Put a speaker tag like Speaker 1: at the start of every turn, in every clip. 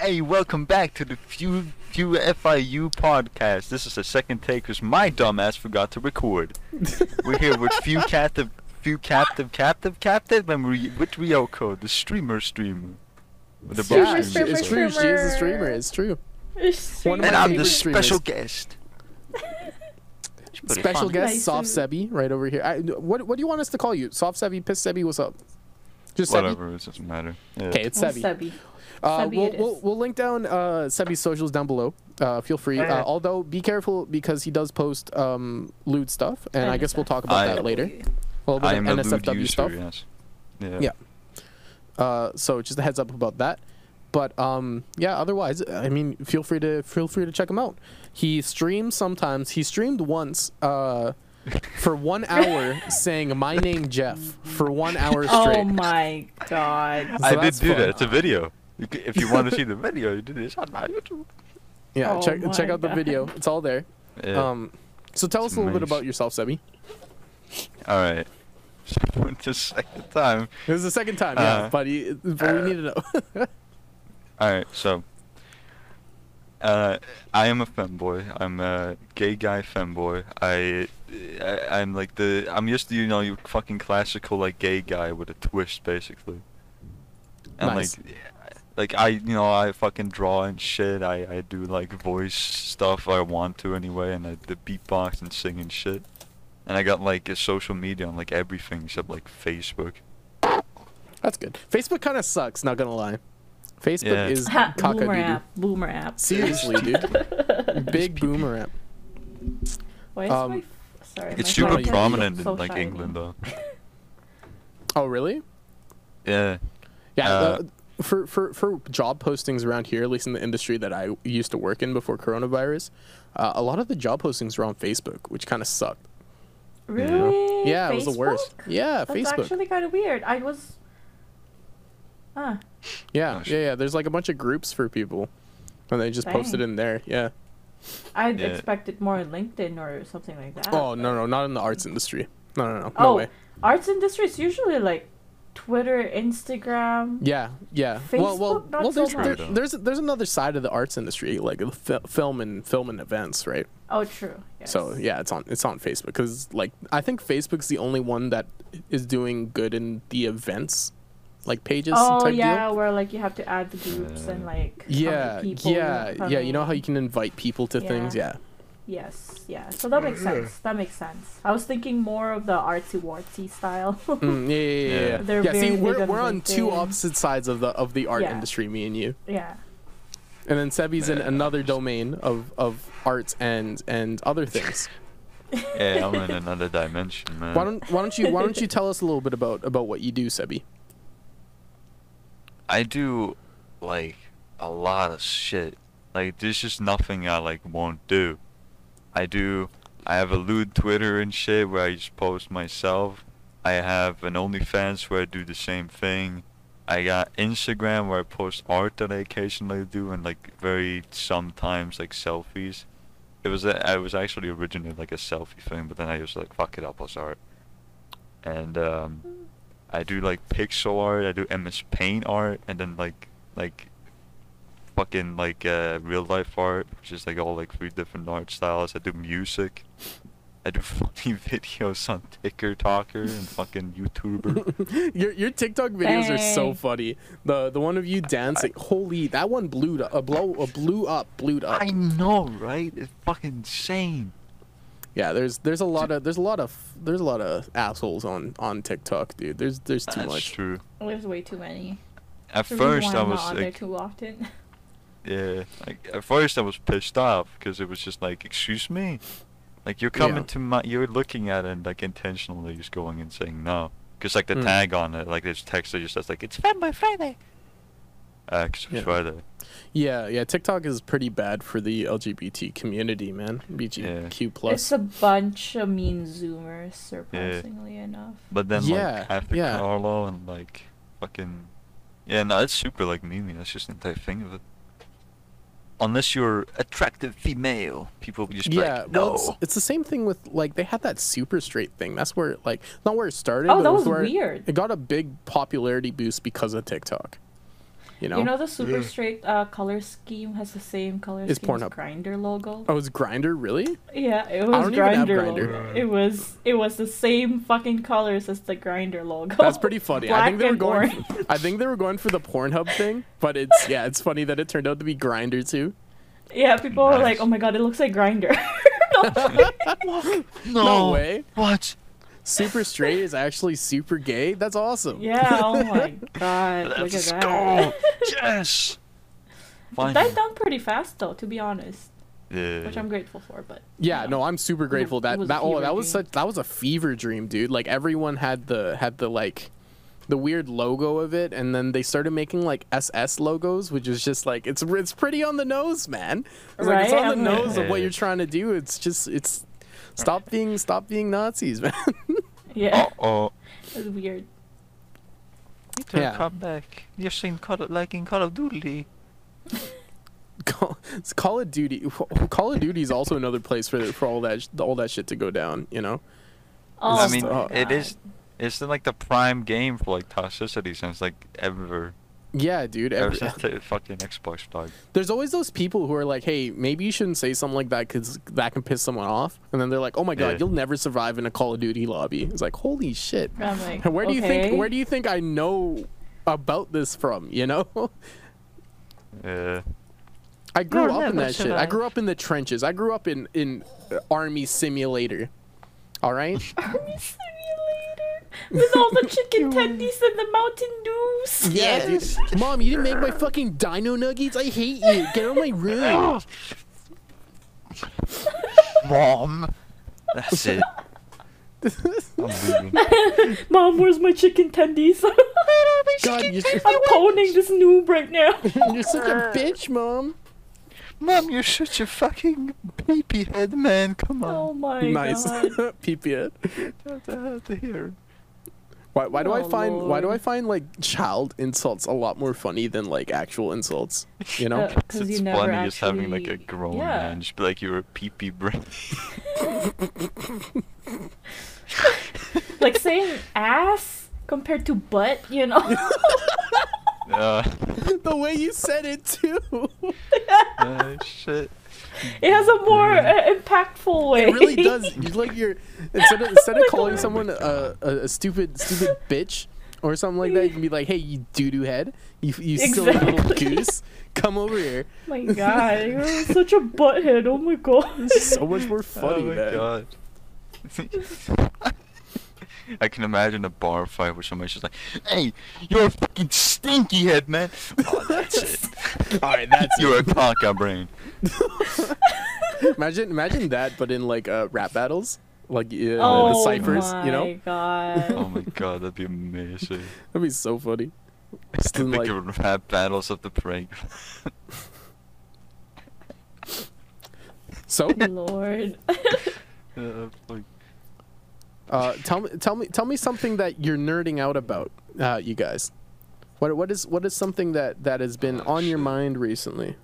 Speaker 1: Hey, welcome back to the Few Few FIU podcast. This is the second take because my dumbass forgot to record. We're here with Few Captive, Few Captive, Captive, Captive, and we, with Ryoko, the streamer streamer. The boss
Speaker 2: Yeah,
Speaker 1: streamer.
Speaker 2: it's, it's true. She is a streamer. It's true. One of
Speaker 1: and
Speaker 2: my
Speaker 1: I'm the
Speaker 2: favorite streamers.
Speaker 1: special guest. It's pretty
Speaker 2: Special
Speaker 1: funny.
Speaker 2: guest,
Speaker 3: Nice
Speaker 2: Soft
Speaker 3: to-
Speaker 2: Sebi, right over here. I, what What do you want us to call you? Soft Sebi, Piss Sebi, what's up? Just Sebi.
Speaker 1: Whatever, it doesn't matter.
Speaker 2: Okay, it's
Speaker 3: Well,
Speaker 2: Sebi.
Speaker 3: Sebi.
Speaker 2: Uh,
Speaker 3: Sebi
Speaker 2: we'll,
Speaker 3: it
Speaker 2: we'll,
Speaker 3: is.
Speaker 2: we'll link down uh, Sebi's socials down below. Uh, feel free.
Speaker 1: Yeah.
Speaker 2: Uh, although, be careful because he does post um, lewd stuff, and I guess we'll talk about
Speaker 1: I-
Speaker 2: that later. A little bit
Speaker 1: I am
Speaker 2: of
Speaker 1: a lewd
Speaker 2: NSFW
Speaker 1: user,
Speaker 2: stuff.
Speaker 1: yes. Yeah.
Speaker 2: Yeah. Uh, so just a heads up about that. But um, yeah, otherwise, I mean, feel free to feel free to check him out. He streams sometimes. He streamed once uh, for one hour saying my name Jeff for one hour straight.
Speaker 3: Oh my god.
Speaker 2: So
Speaker 1: I did
Speaker 2: that's
Speaker 1: do
Speaker 2: fun.
Speaker 1: that. It's a video. You c- If you want to see the video, you do this on my YouTube.
Speaker 2: yeah,
Speaker 3: oh
Speaker 2: check check
Speaker 3: my
Speaker 2: out the video.
Speaker 3: God.
Speaker 2: It's all there.
Speaker 1: Yeah.
Speaker 2: Um, so tell
Speaker 1: It's
Speaker 2: us a little bit
Speaker 1: amazing.
Speaker 2: about yourself, Sebi.
Speaker 1: All right. So the second time.
Speaker 2: It was the second time, yeah,
Speaker 1: Uh,
Speaker 2: but, he, but we need to know.
Speaker 1: All right. So, uh, I am a femboy. I'm a gay guy femboy. I, I, I'm like the. I'm just you know you fucking classical like gay guy with a twist basically. And
Speaker 2: Nice.
Speaker 1: like, like I you know I fucking draw and shit. I I do like voice stuff I want to anyway, and I the beatbox and sing and shit. And I got like a social media on like everything except like Facebook.
Speaker 2: That's good. Facebook kind of sucks. Not gonna lie, Facebook
Speaker 1: Yeah.
Speaker 2: is
Speaker 3: Ha, boomer
Speaker 2: cockadoo.
Speaker 3: app. Boomer app.
Speaker 2: Seriously, dude, big boomer app.
Speaker 3: Why is
Speaker 2: Um,
Speaker 3: my f- sorry, my
Speaker 1: It's
Speaker 2: God,
Speaker 1: super
Speaker 2: yeah.
Speaker 3: phone
Speaker 1: prominent
Speaker 3: so
Speaker 1: in like
Speaker 3: shiny.
Speaker 1: England though.
Speaker 2: Oh really?
Speaker 1: Yeah.
Speaker 2: Yeah,
Speaker 1: Uh,
Speaker 2: the, for, for for job postings around here, at least in the industry that I used to work in before coronavirus, uh, a lot of the job postings were on Facebook, which kind of sucked.
Speaker 3: Really?
Speaker 2: Yeah, it was the worst.
Speaker 3: Oh, Facebook?
Speaker 2: Yeah,
Speaker 3: That's
Speaker 2: Facebook.
Speaker 3: actually kind of weird. I was. Ah,
Speaker 2: Yeah,
Speaker 1: Gosh.
Speaker 2: yeah, yeah. There's like a bunch of groups for people, and they just posted
Speaker 3: Dang.
Speaker 2: in there. Yeah.
Speaker 3: I'd
Speaker 1: Yeah.
Speaker 3: expected more LinkedIn or something like that.
Speaker 2: Oh no, no, not in the arts industry. No, no, no, no
Speaker 3: oh,
Speaker 2: way.
Speaker 3: arts industry is usually like Twitter, Instagram.
Speaker 2: Yeah, yeah. well, well,
Speaker 3: Facebook? Not
Speaker 2: well.
Speaker 3: so
Speaker 2: There's
Speaker 3: much.
Speaker 2: there, there's there's another side of the arts industry, like the fil- film and film and events, right?
Speaker 3: Oh, true. Yes.
Speaker 2: So yeah, it's on it's on Facebook because like I think Facebook's the only one that is doing good in the events, like pages
Speaker 3: Oh
Speaker 2: type
Speaker 3: yeah,
Speaker 2: deal.
Speaker 3: where like you have to add the groups
Speaker 1: Uh,
Speaker 3: and like how many
Speaker 2: Yeah,
Speaker 3: people you-
Speaker 2: yeah,
Speaker 3: how
Speaker 2: yeah. You know
Speaker 3: many-
Speaker 2: how you can invite people to things. Yeah,
Speaker 3: Yeah. Yes, yeah. So that makes sense. That makes sense. I was thinking more of the artsy wartsy style.
Speaker 2: Mm, yeah, yeah, yeah.
Speaker 1: Yeah.
Speaker 2: yeah.
Speaker 3: They're
Speaker 2: yeah
Speaker 3: very
Speaker 2: see,
Speaker 3: big
Speaker 2: we're
Speaker 3: on
Speaker 2: we're on two
Speaker 3: LinkedIn.
Speaker 2: opposite sides of the of the art
Speaker 3: Yeah.
Speaker 2: industry, me and you.
Speaker 3: yeah.
Speaker 2: And then Sebi's in another domain of of arts and and other things.
Speaker 1: Yeah, I'm in another dimension, man.
Speaker 2: Why don't why don't you why don't you tell us a little bit about about what you do, Sebi?
Speaker 1: I do like a lot of shit. Like there's just nothing I like won't do. I do I have a lewd Twitter and shit where I just post myself. I have an OnlyFans where I do the same thing. I got Instagram where I post art that I occasionally do and like very sometimes like selfies. It was a, I was actually originally like a selfie thing, but then I was like fuck it up, I'll start. And um I do like pixel art, I do MS Paint art, and then like like fucking like uh, real life art, which is like all like three different art styles. I do music. I do funny videos on Ticker Talker and fucking YouTuber.
Speaker 2: Your your TikTok videos are so
Speaker 3: Dang.
Speaker 2: funny. The the one of you dancing, holy, that one blew up, uh, blow, uh, blew up, blew up.
Speaker 1: I know, right? It's fucking insane.
Speaker 2: Yeah, there's there's a lot of there's a lot of there's a lot of assholes on on TikTok, dude. There's there's too
Speaker 1: That's
Speaker 2: much.
Speaker 1: true.
Speaker 3: There's way too many.
Speaker 1: At
Speaker 3: The reason why
Speaker 1: first, I
Speaker 3: I'm
Speaker 1: was
Speaker 3: not on there
Speaker 1: like,
Speaker 3: too often.
Speaker 1: yeah, like at first I was pissed off because it was just like, excuse me, like you're coming to my, you're looking at it and like intentionally just going and saying no, because like the
Speaker 2: Mm.
Speaker 1: tag on it, like there's text that just says like it's Fanboy Friday. Uh, 'cause it's
Speaker 2: Yeah.
Speaker 1: Friday.
Speaker 2: Yeah, yeah, TikTok is pretty bad for the LGBT community, man. BGQ plus.
Speaker 3: It's a bunch of mean zoomers, surprisingly enough.
Speaker 1: But then
Speaker 2: Yeah,
Speaker 1: like after
Speaker 2: yeah.
Speaker 1: Carlo and like fucking, yeah, no, it's super like memey. That's just the entire thing of it. Unless you're attractive female, people just be
Speaker 2: yeah,
Speaker 1: like, no.
Speaker 2: well, it's, it's the same thing with like they had that super straight thing. That's where like not where it started.
Speaker 3: Oh,
Speaker 2: but
Speaker 3: that
Speaker 2: it
Speaker 3: was
Speaker 2: where it-
Speaker 3: weird.
Speaker 2: It got a big popularity boost because of TikTok. You know,
Speaker 3: You know the super
Speaker 4: Yeah.
Speaker 3: straight uh, color scheme has the same color
Speaker 2: Is
Speaker 3: scheme as
Speaker 2: Pornhub.
Speaker 3: Grinder logo.
Speaker 2: oh, it's Grinder really?
Speaker 3: Yeah, it
Speaker 2: I
Speaker 3: was
Speaker 2: don't even have
Speaker 3: Grinder
Speaker 2: Grindr.
Speaker 3: logo. It was it was the same fucking colors as the Grinder logo.
Speaker 2: That's pretty funny. I
Speaker 3: Black
Speaker 2: think they were
Speaker 3: and
Speaker 2: going.
Speaker 3: orange.
Speaker 2: I think they were going for the Pornhub thing, but it's yeah, it's funny that it turned out to be Grinder too.
Speaker 3: Yeah, people were
Speaker 1: Nice.
Speaker 3: like, "Oh my god, it looks like Grinder."
Speaker 1: No,
Speaker 2: way.
Speaker 1: What?
Speaker 2: Super straight is actually super gay. That's awesome.
Speaker 3: yeah. Oh my god. look
Speaker 1: Let's
Speaker 3: at that.
Speaker 1: go. yes.
Speaker 3: It
Speaker 1: Fine.
Speaker 3: died down pretty fast though, to be honest,
Speaker 1: Yeah.
Speaker 3: which I'm grateful for. But
Speaker 2: Yeah, no, I'm super grateful
Speaker 3: it
Speaker 2: that
Speaker 3: was a
Speaker 2: that oh
Speaker 3: fever
Speaker 2: that was
Speaker 3: dream.
Speaker 2: such that was a fever dream, dude. Like everyone had the had the like the weird logo of it, and then they started making like SS logos, which is just like it's it's pretty on the nose, man. It's like it's
Speaker 3: Right?
Speaker 2: on the
Speaker 3: I'm like-
Speaker 2: nose of what you're trying to do. It's just it's stop being stop being Nazis, man.
Speaker 3: yeah,
Speaker 1: Uh oh.
Speaker 3: it was weird.
Speaker 1: Need
Speaker 2: to Yeah.
Speaker 1: come back. You're saying Call of, like in Call of Duty.
Speaker 2: Call, it's Call of Duty Call of Duty is also another place for for all that sh- all that shit to go down. You know,
Speaker 3: Oh,
Speaker 1: I mean,
Speaker 3: my
Speaker 1: it
Speaker 3: God.
Speaker 1: is. It's the, like the prime game for like toxicity since like ever,
Speaker 2: yeah, dude.
Speaker 1: ever
Speaker 2: Every,
Speaker 1: since the fucking Xbox started.
Speaker 2: there's always those people who are like, "Hey, maybe you shouldn't say something like that because that can piss someone off." And then they're like, "Oh my god,
Speaker 1: Yeah.
Speaker 2: you'll never survive in a Call of Duty lobby." It's like, "Holy shit!"
Speaker 3: I'm like,
Speaker 2: And where do you think
Speaker 3: okay.
Speaker 2: where do you think I know about this from? You know,
Speaker 1: Yeah.
Speaker 2: I grew
Speaker 3: You'll
Speaker 2: up in
Speaker 3: never
Speaker 2: that shit. I
Speaker 3: survive.
Speaker 2: grew up in the trenches. I grew up in in uh, army simulator. All right,
Speaker 3: Army Simulator with all the chicken tendies and the Mountain Dews.
Speaker 2: yes. Mom, you didn't make my fucking dino nuggets. I hate you. Get out of my room.
Speaker 1: Mom. That's it. I'm leaving.
Speaker 3: Mom, where's my chicken tendies?
Speaker 2: God, you're,
Speaker 3: I'm poning this noob right now.
Speaker 2: you're such a bitch, mom.
Speaker 1: Mom, you're such a fucking baby head, man. Come
Speaker 3: Oh
Speaker 1: on.
Speaker 3: my
Speaker 2: Nice,
Speaker 3: god.
Speaker 2: peep it.
Speaker 1: Don't have to hear it.
Speaker 2: Why, why do I
Speaker 3: Oh,
Speaker 2: find why do I
Speaker 3: Lord.
Speaker 2: find like child insults a lot more funny than like actual insults? You know?
Speaker 3: Uh, 'cause
Speaker 1: It's,
Speaker 3: you
Speaker 1: it's
Speaker 3: never
Speaker 1: funny just having like a
Speaker 3: actually-
Speaker 1: grown
Speaker 3: Yeah.
Speaker 1: man just be like you're a pee-pee brain.
Speaker 3: Like saying ass compared to butt, you know?
Speaker 1: Uh,
Speaker 2: the way you said it too.
Speaker 1: uh, shit.
Speaker 3: It has a more uh, impactful way.
Speaker 2: it really does. You like you're instead of, instead of
Speaker 3: Oh
Speaker 2: calling
Speaker 1: God.
Speaker 2: someone a, a, a stupid stupid bitch or something like that, you can be like, "Hey, you doo doo head, you you silly little
Speaker 3: Exactly.
Speaker 2: goose, come over here."
Speaker 3: my god, you're such a butthead. Oh my god.
Speaker 2: So much more funny,
Speaker 1: oh my
Speaker 2: man.
Speaker 1: god. I can imagine a bar fight where somebody's just like, "Hey, you're a fucking stinky head, man." Oh, that's it.
Speaker 2: All right, that's
Speaker 1: You're a caca brain.
Speaker 2: imagine imagine that, but in like uh, rap battles, like uh, the
Speaker 3: oh
Speaker 2: ciphers,
Speaker 3: my
Speaker 2: you know,
Speaker 1: Oh
Speaker 3: god.
Speaker 1: my god, that'd be amazing.
Speaker 2: that'd be so funny. Just in,
Speaker 1: Think
Speaker 2: like,
Speaker 1: of rap battles of the prank.
Speaker 2: so
Speaker 3: Lord.
Speaker 1: Uh, like,
Speaker 2: Uh, tell me, tell me, tell me something that you're nerding out about, uh, you guys. What what is what is something that that has been
Speaker 1: Oh,
Speaker 2: on your
Speaker 1: shit.
Speaker 2: mind recently?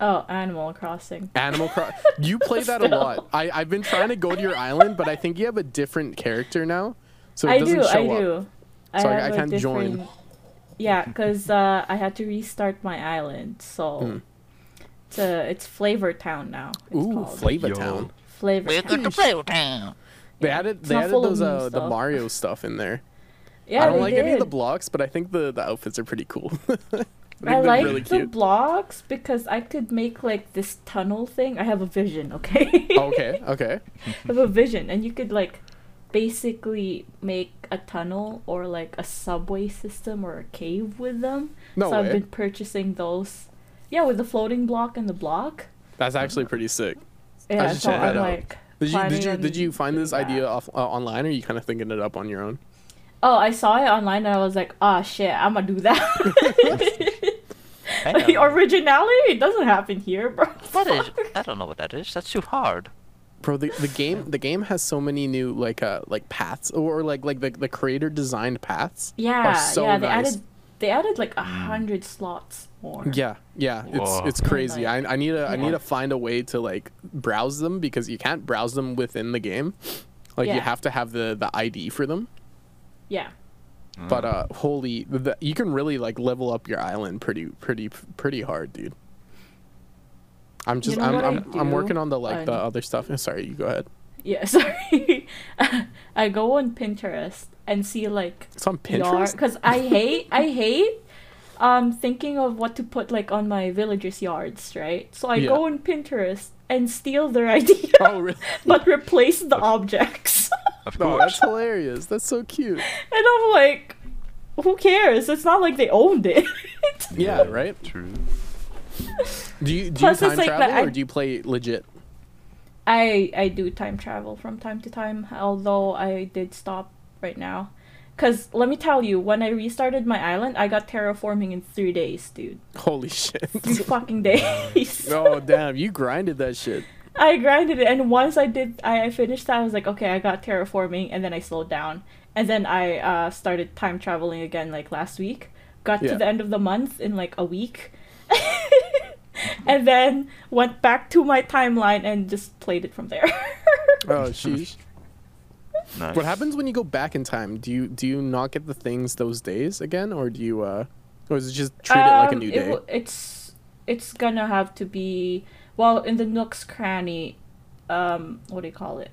Speaker 3: Oh, Animal Crossing.
Speaker 2: Animal Crossing. you play that a
Speaker 3: Still.
Speaker 2: lot. I I've been trying to go to your island, but I think you have a different character now, so it
Speaker 3: I
Speaker 2: doesn't
Speaker 3: do, I
Speaker 2: show up.
Speaker 3: do.
Speaker 2: So I-
Speaker 3: have
Speaker 2: I
Speaker 3: a
Speaker 2: can't join.
Speaker 3: different- Yeah, because uh, I had to restart my island, so it's, uh, it's Flavor Town now. It's
Speaker 2: Hmm. Ooh,
Speaker 3: called.
Speaker 2: Flavor
Speaker 1: Yo.
Speaker 2: Town.
Speaker 3: Flavor Town.
Speaker 2: They added
Speaker 3: It's
Speaker 2: they
Speaker 3: not
Speaker 2: added
Speaker 3: full of
Speaker 2: those
Speaker 3: meme
Speaker 2: uh, the
Speaker 3: stuff.
Speaker 2: Mario stuff in there.
Speaker 3: Yeah,
Speaker 2: I don't
Speaker 3: they
Speaker 2: like
Speaker 3: did.
Speaker 2: any of the blocks, but I think the the outfits are pretty cool. I, think
Speaker 3: I
Speaker 2: they're
Speaker 3: like
Speaker 2: really
Speaker 3: the
Speaker 2: cute.
Speaker 3: blocks because I could make like this tunnel thing. I have a vision, okay?
Speaker 2: Oh, okay, okay.
Speaker 3: I have a vision, and you could like basically make a tunnel or like a subway system or a cave with them.
Speaker 2: No
Speaker 3: so I've
Speaker 2: way.
Speaker 3: been purchasing those. Yeah, with the floating block and the block.
Speaker 2: That's actually pretty sick.
Speaker 3: Yeah,
Speaker 2: should
Speaker 3: so
Speaker 1: check
Speaker 3: I'm
Speaker 1: that out.
Speaker 3: like.
Speaker 2: Did you did
Speaker 3: planning
Speaker 2: you did
Speaker 3: on
Speaker 2: you find
Speaker 3: doing
Speaker 2: this
Speaker 3: that.
Speaker 2: idea off, uh, online, or are you kind of thinking it up on your own?
Speaker 3: Oh, I saw it online and I was like, ah, shit, I'm gonna do that.
Speaker 1: Hang
Speaker 3: like,
Speaker 1: on.
Speaker 3: originality it doesn't happen here, bro.
Speaker 1: What is? I don't know what that is. That's too hard.
Speaker 2: Bro, the, the game the game has so many new like uh like paths or, or, like like the, the creator designed paths.
Speaker 3: Yeah,
Speaker 2: so
Speaker 3: yeah. They
Speaker 2: nice.
Speaker 3: added they added like a hundred slots more.
Speaker 2: Yeah, yeah,
Speaker 1: Whoa.
Speaker 2: it's it's crazy. I, I need to I need
Speaker 3: Yeah.
Speaker 2: to find a way to like browse them because you can't browse them within the game. Like you
Speaker 3: Yeah.
Speaker 2: have to have the the ID for them.
Speaker 3: yeah.
Speaker 2: But uh, holy, the, you can really like level up your island pretty, pretty, pretty hard, dude. I'm just,
Speaker 3: know
Speaker 2: I'm,
Speaker 3: what I
Speaker 2: I'm, I'm
Speaker 3: do?
Speaker 2: working on the like the
Speaker 3: I'm-
Speaker 2: other stuff. Eh, Sorry, you go ahead.
Speaker 3: Yeah, sorry. I go on Pinterest and see like
Speaker 2: It's on
Speaker 3: yarn
Speaker 2: Pinterest.
Speaker 3: because I hate I hate um thinking of what to put like on my villagers' yards, right? So I
Speaker 2: Yeah.
Speaker 3: go on Pinterest and steal their idea,
Speaker 2: Oh, really?
Speaker 3: but replace the objects.
Speaker 1: Of
Speaker 2: No,
Speaker 1: course.
Speaker 2: that's hilarious. That's so cute.
Speaker 3: and I'm like, who cares? It's not like they owned it.
Speaker 2: Yeah, right.
Speaker 1: True.
Speaker 2: Do you do you
Speaker 3: Plus, it's
Speaker 2: time
Speaker 3: like
Speaker 2: travel
Speaker 3: that I-
Speaker 2: or do you play legit?
Speaker 3: I I do time travel from time to time, although I did stop right now. Cause let me tell you, when I restarted my island, I got terraforming in three days, dude.
Speaker 2: Holy shit!
Speaker 3: Three fucking days.
Speaker 2: oh damn, you grinded that shit.
Speaker 3: I grinded it, and once I did, I I finished that. I was like, okay, I got terraforming, and then I slowed down, and then I uh, started time traveling again, like last week. Got
Speaker 2: Yeah.
Speaker 3: to the end of the month in like a week, and then went back to my timeline and just played it from there.
Speaker 2: Oh sheesh.
Speaker 1: Nice.
Speaker 2: What happens when you go back in time? Do you do you not get the things those days again, or do you uh, or is it just treat it like a
Speaker 3: Um,
Speaker 2: new
Speaker 3: it
Speaker 2: day?
Speaker 3: will- it's it's gonna have to be well in the nooks cranny. Um, what do you call it?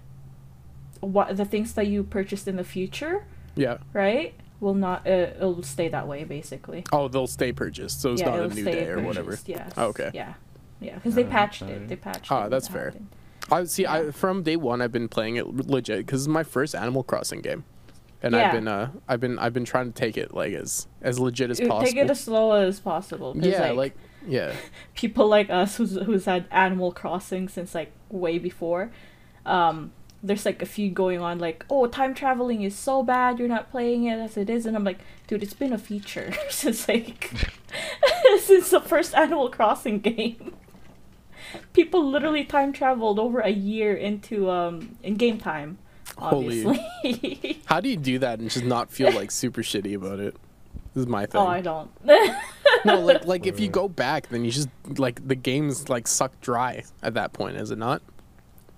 Speaker 3: What the things that you purchased in the future,
Speaker 2: yeah.
Speaker 3: right? Will not. Uh, it'll stay that way basically.
Speaker 2: Oh, they'll stay purchased, so it's not a new day or whatever.
Speaker 3: purchased, Yes.
Speaker 2: Oh, okay.
Speaker 3: Yeah. Yeah, because they
Speaker 1: Alright,
Speaker 3: patched it.
Speaker 1: alright.
Speaker 3: They patched
Speaker 2: Ah,
Speaker 3: it. when
Speaker 2: that's
Speaker 3: that
Speaker 2: fair.
Speaker 3: happened.
Speaker 2: I see. I
Speaker 3: Yeah.
Speaker 2: from day one, I've been playing it l- legit because it's my first Animal Crossing game, and I've
Speaker 3: Yeah.
Speaker 2: been uh, I've been I've been trying to take it like as as legit as
Speaker 3: You
Speaker 2: possible.
Speaker 3: Take it as slow as possible. 'cause,
Speaker 2: yeah,
Speaker 3: like,
Speaker 2: like yeah.
Speaker 3: people like us who's who's had Animal Crossing since like way before. Um, there's like a feud going on like, oh, time traveling is so bad. You're not playing it as it is, and I'm like, dude, it's been a feature since like since the first Animal Crossing game. People literally time traveled over a year into um in game time.
Speaker 2: Holy.
Speaker 3: Obviously.
Speaker 2: How do you do that and just not feel like super shitty about it? This is my thing.
Speaker 3: oh, I don't.
Speaker 2: no, like like if you go back, then you just like the game's like sucked dry at that point, is it not?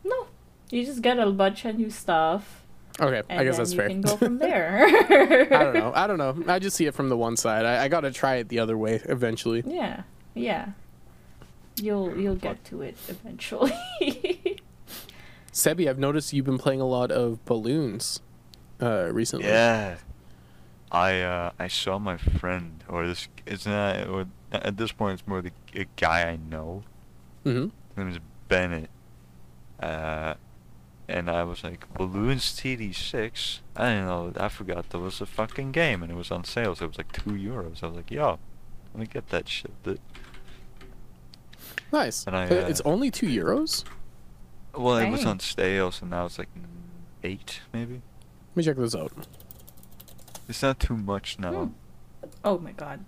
Speaker 3: no, you just get a bunch of new stuff.
Speaker 2: Okay,
Speaker 3: And
Speaker 2: I guess
Speaker 3: then
Speaker 2: that's
Speaker 3: you
Speaker 2: fair.
Speaker 3: can go from there.
Speaker 2: I don't know. I don't know. I just see it from the one side. I, I gotta try it the other way eventually.
Speaker 3: Yeah, yeah. You'll you'll get to it eventually.
Speaker 2: Sebi, I've noticed you've been playing a lot of balloons uh recently.
Speaker 1: Yeah. I uh I saw my friend or this it's not or at this point it's more the a guy I know.
Speaker 2: hmm
Speaker 1: His name is Bennett. Uh and I was like, Balloons TD six? I didn't know I forgot there was a fucking game and it was on sale, so it was like two euros. I was like, yo, let me get that shit. The-
Speaker 2: Nice.
Speaker 1: And I,
Speaker 2: Uh, it's
Speaker 1: uh,
Speaker 2: only two euros.
Speaker 1: Well it was
Speaker 3: Dang.
Speaker 1: on sale so now it's like eight maybe?
Speaker 2: Let me check this out.
Speaker 1: It's not too much now.
Speaker 3: Hmm. oh my god.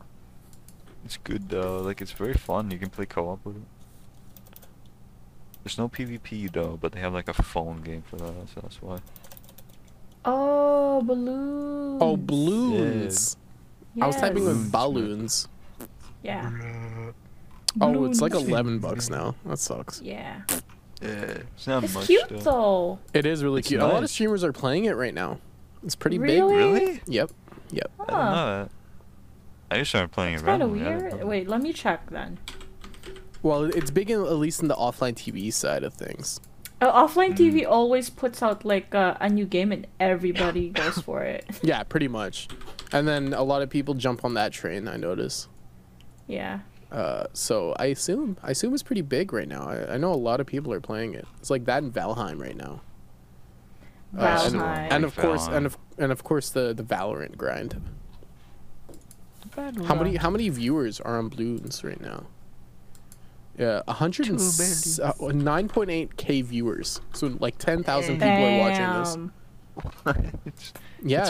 Speaker 1: It's good though. Like it's very fun. You can play co-op with it. There's no PvP though, but they have like a phone game for that, so that's why.
Speaker 3: Oh balloons.
Speaker 2: Oh, balloons. I was typing
Speaker 1: Yes.
Speaker 2: with balloons.
Speaker 3: Yeah.
Speaker 2: Oh, it's like
Speaker 3: Balloons.
Speaker 2: eleven bucks now. That sucks.
Speaker 3: Yeah.
Speaker 1: Yeah. It's not
Speaker 3: It's
Speaker 1: much
Speaker 3: cute
Speaker 1: though.
Speaker 3: though.
Speaker 2: It is really
Speaker 1: It's
Speaker 2: cute. A lot of
Speaker 1: nice.
Speaker 2: streamers are playing it right now. It's pretty
Speaker 3: Really?
Speaker 1: Really?
Speaker 2: big. Yep. Yep.
Speaker 1: I don't
Speaker 3: Huh.
Speaker 1: know. I just started playing
Speaker 3: It's
Speaker 1: it
Speaker 3: kind of
Speaker 1: randomly, I didn't
Speaker 3: weird.
Speaker 1: know.
Speaker 3: Wait, let me check then.
Speaker 2: Well, it's big in, at least in the offline TV side of things.
Speaker 3: Uh,
Speaker 2: Mm.
Speaker 3: offline TV always puts out like uh, a new game and everybody goes for it.
Speaker 2: Yeah, pretty much. And then a lot of people jump on that train. I notice.
Speaker 3: Yeah.
Speaker 2: Uh, so I assume I assume it's pretty big right now. I, I know a lot of people are playing it. It's like that in Valheim right now. Uh, and-
Speaker 3: Valheim.
Speaker 2: and of course,
Speaker 1: Valheim.
Speaker 2: and of and of course the the Valorant grind. How many how many viewers are on Balloons right now? Yeah, uh, 109.8 k viewers. So like 10,000 people are watching this.
Speaker 3: Damn.
Speaker 1: it's,
Speaker 2: Yeah,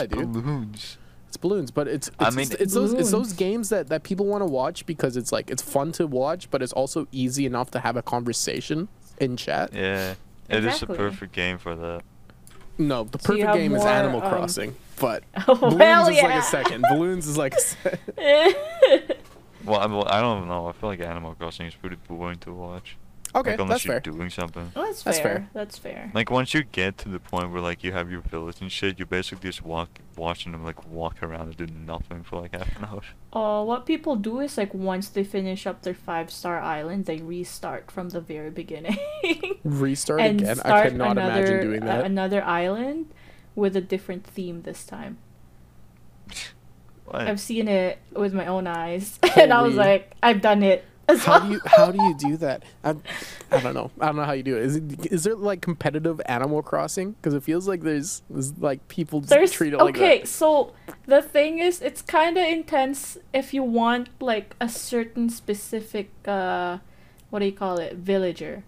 Speaker 1: it's
Speaker 2: dude.
Speaker 1: balloons.
Speaker 2: It's balloons, but it's it's,
Speaker 1: I mean-
Speaker 2: it's, it's those it's
Speaker 3: Balloons.
Speaker 2: those games that that people want to watch because it's like it's fun to watch, but it's also easy enough to have a conversation in chat.
Speaker 1: Yeah. It is the
Speaker 3: Exactly.
Speaker 1: perfect game for that.
Speaker 2: No, the
Speaker 3: So you
Speaker 2: perfect
Speaker 3: have
Speaker 2: game is
Speaker 3: more,
Speaker 2: Animal
Speaker 3: um,
Speaker 2: Crossing, but
Speaker 3: Oh,
Speaker 2: balloons
Speaker 3: hell
Speaker 2: is like
Speaker 3: yeah.
Speaker 2: a second. Balloons is like a se-
Speaker 1: Well, I, well, I don't know. I feel like Animal Crossing is pretty boring to watch.
Speaker 2: Okay,
Speaker 1: like unless
Speaker 2: that's
Speaker 1: you're
Speaker 2: fair.
Speaker 1: doing something.
Speaker 3: That's fair.
Speaker 2: That's
Speaker 3: That's
Speaker 2: fair.
Speaker 3: fair.
Speaker 1: Like once you get to the point where like you have your village and shit, you basically just walk watching them like walk around and do nothing for like half an hour.
Speaker 3: Uh, what people do is like once they finish up their five star island, they restart from the very beginning
Speaker 2: Restart
Speaker 3: and
Speaker 2: again.
Speaker 3: start
Speaker 2: I cannot
Speaker 3: another
Speaker 2: imagine doing
Speaker 3: uh,
Speaker 2: that.
Speaker 3: another island with a different theme this time.
Speaker 1: What?
Speaker 3: I've seen it with my own eyes, and I was
Speaker 2: Holy-
Speaker 3: like, I've done it. As
Speaker 2: how
Speaker 3: well.
Speaker 2: do you how do you do that? I, I don't know. I don't know how you do it. Is it is there like competitive Animal Crossing? Because it feels like there's, there's like people just
Speaker 3: There's
Speaker 2: treat it like
Speaker 3: okay,
Speaker 2: that.
Speaker 3: so the thing is, it's kind of intense if you want like a certain specific uh, what do you call it, villager.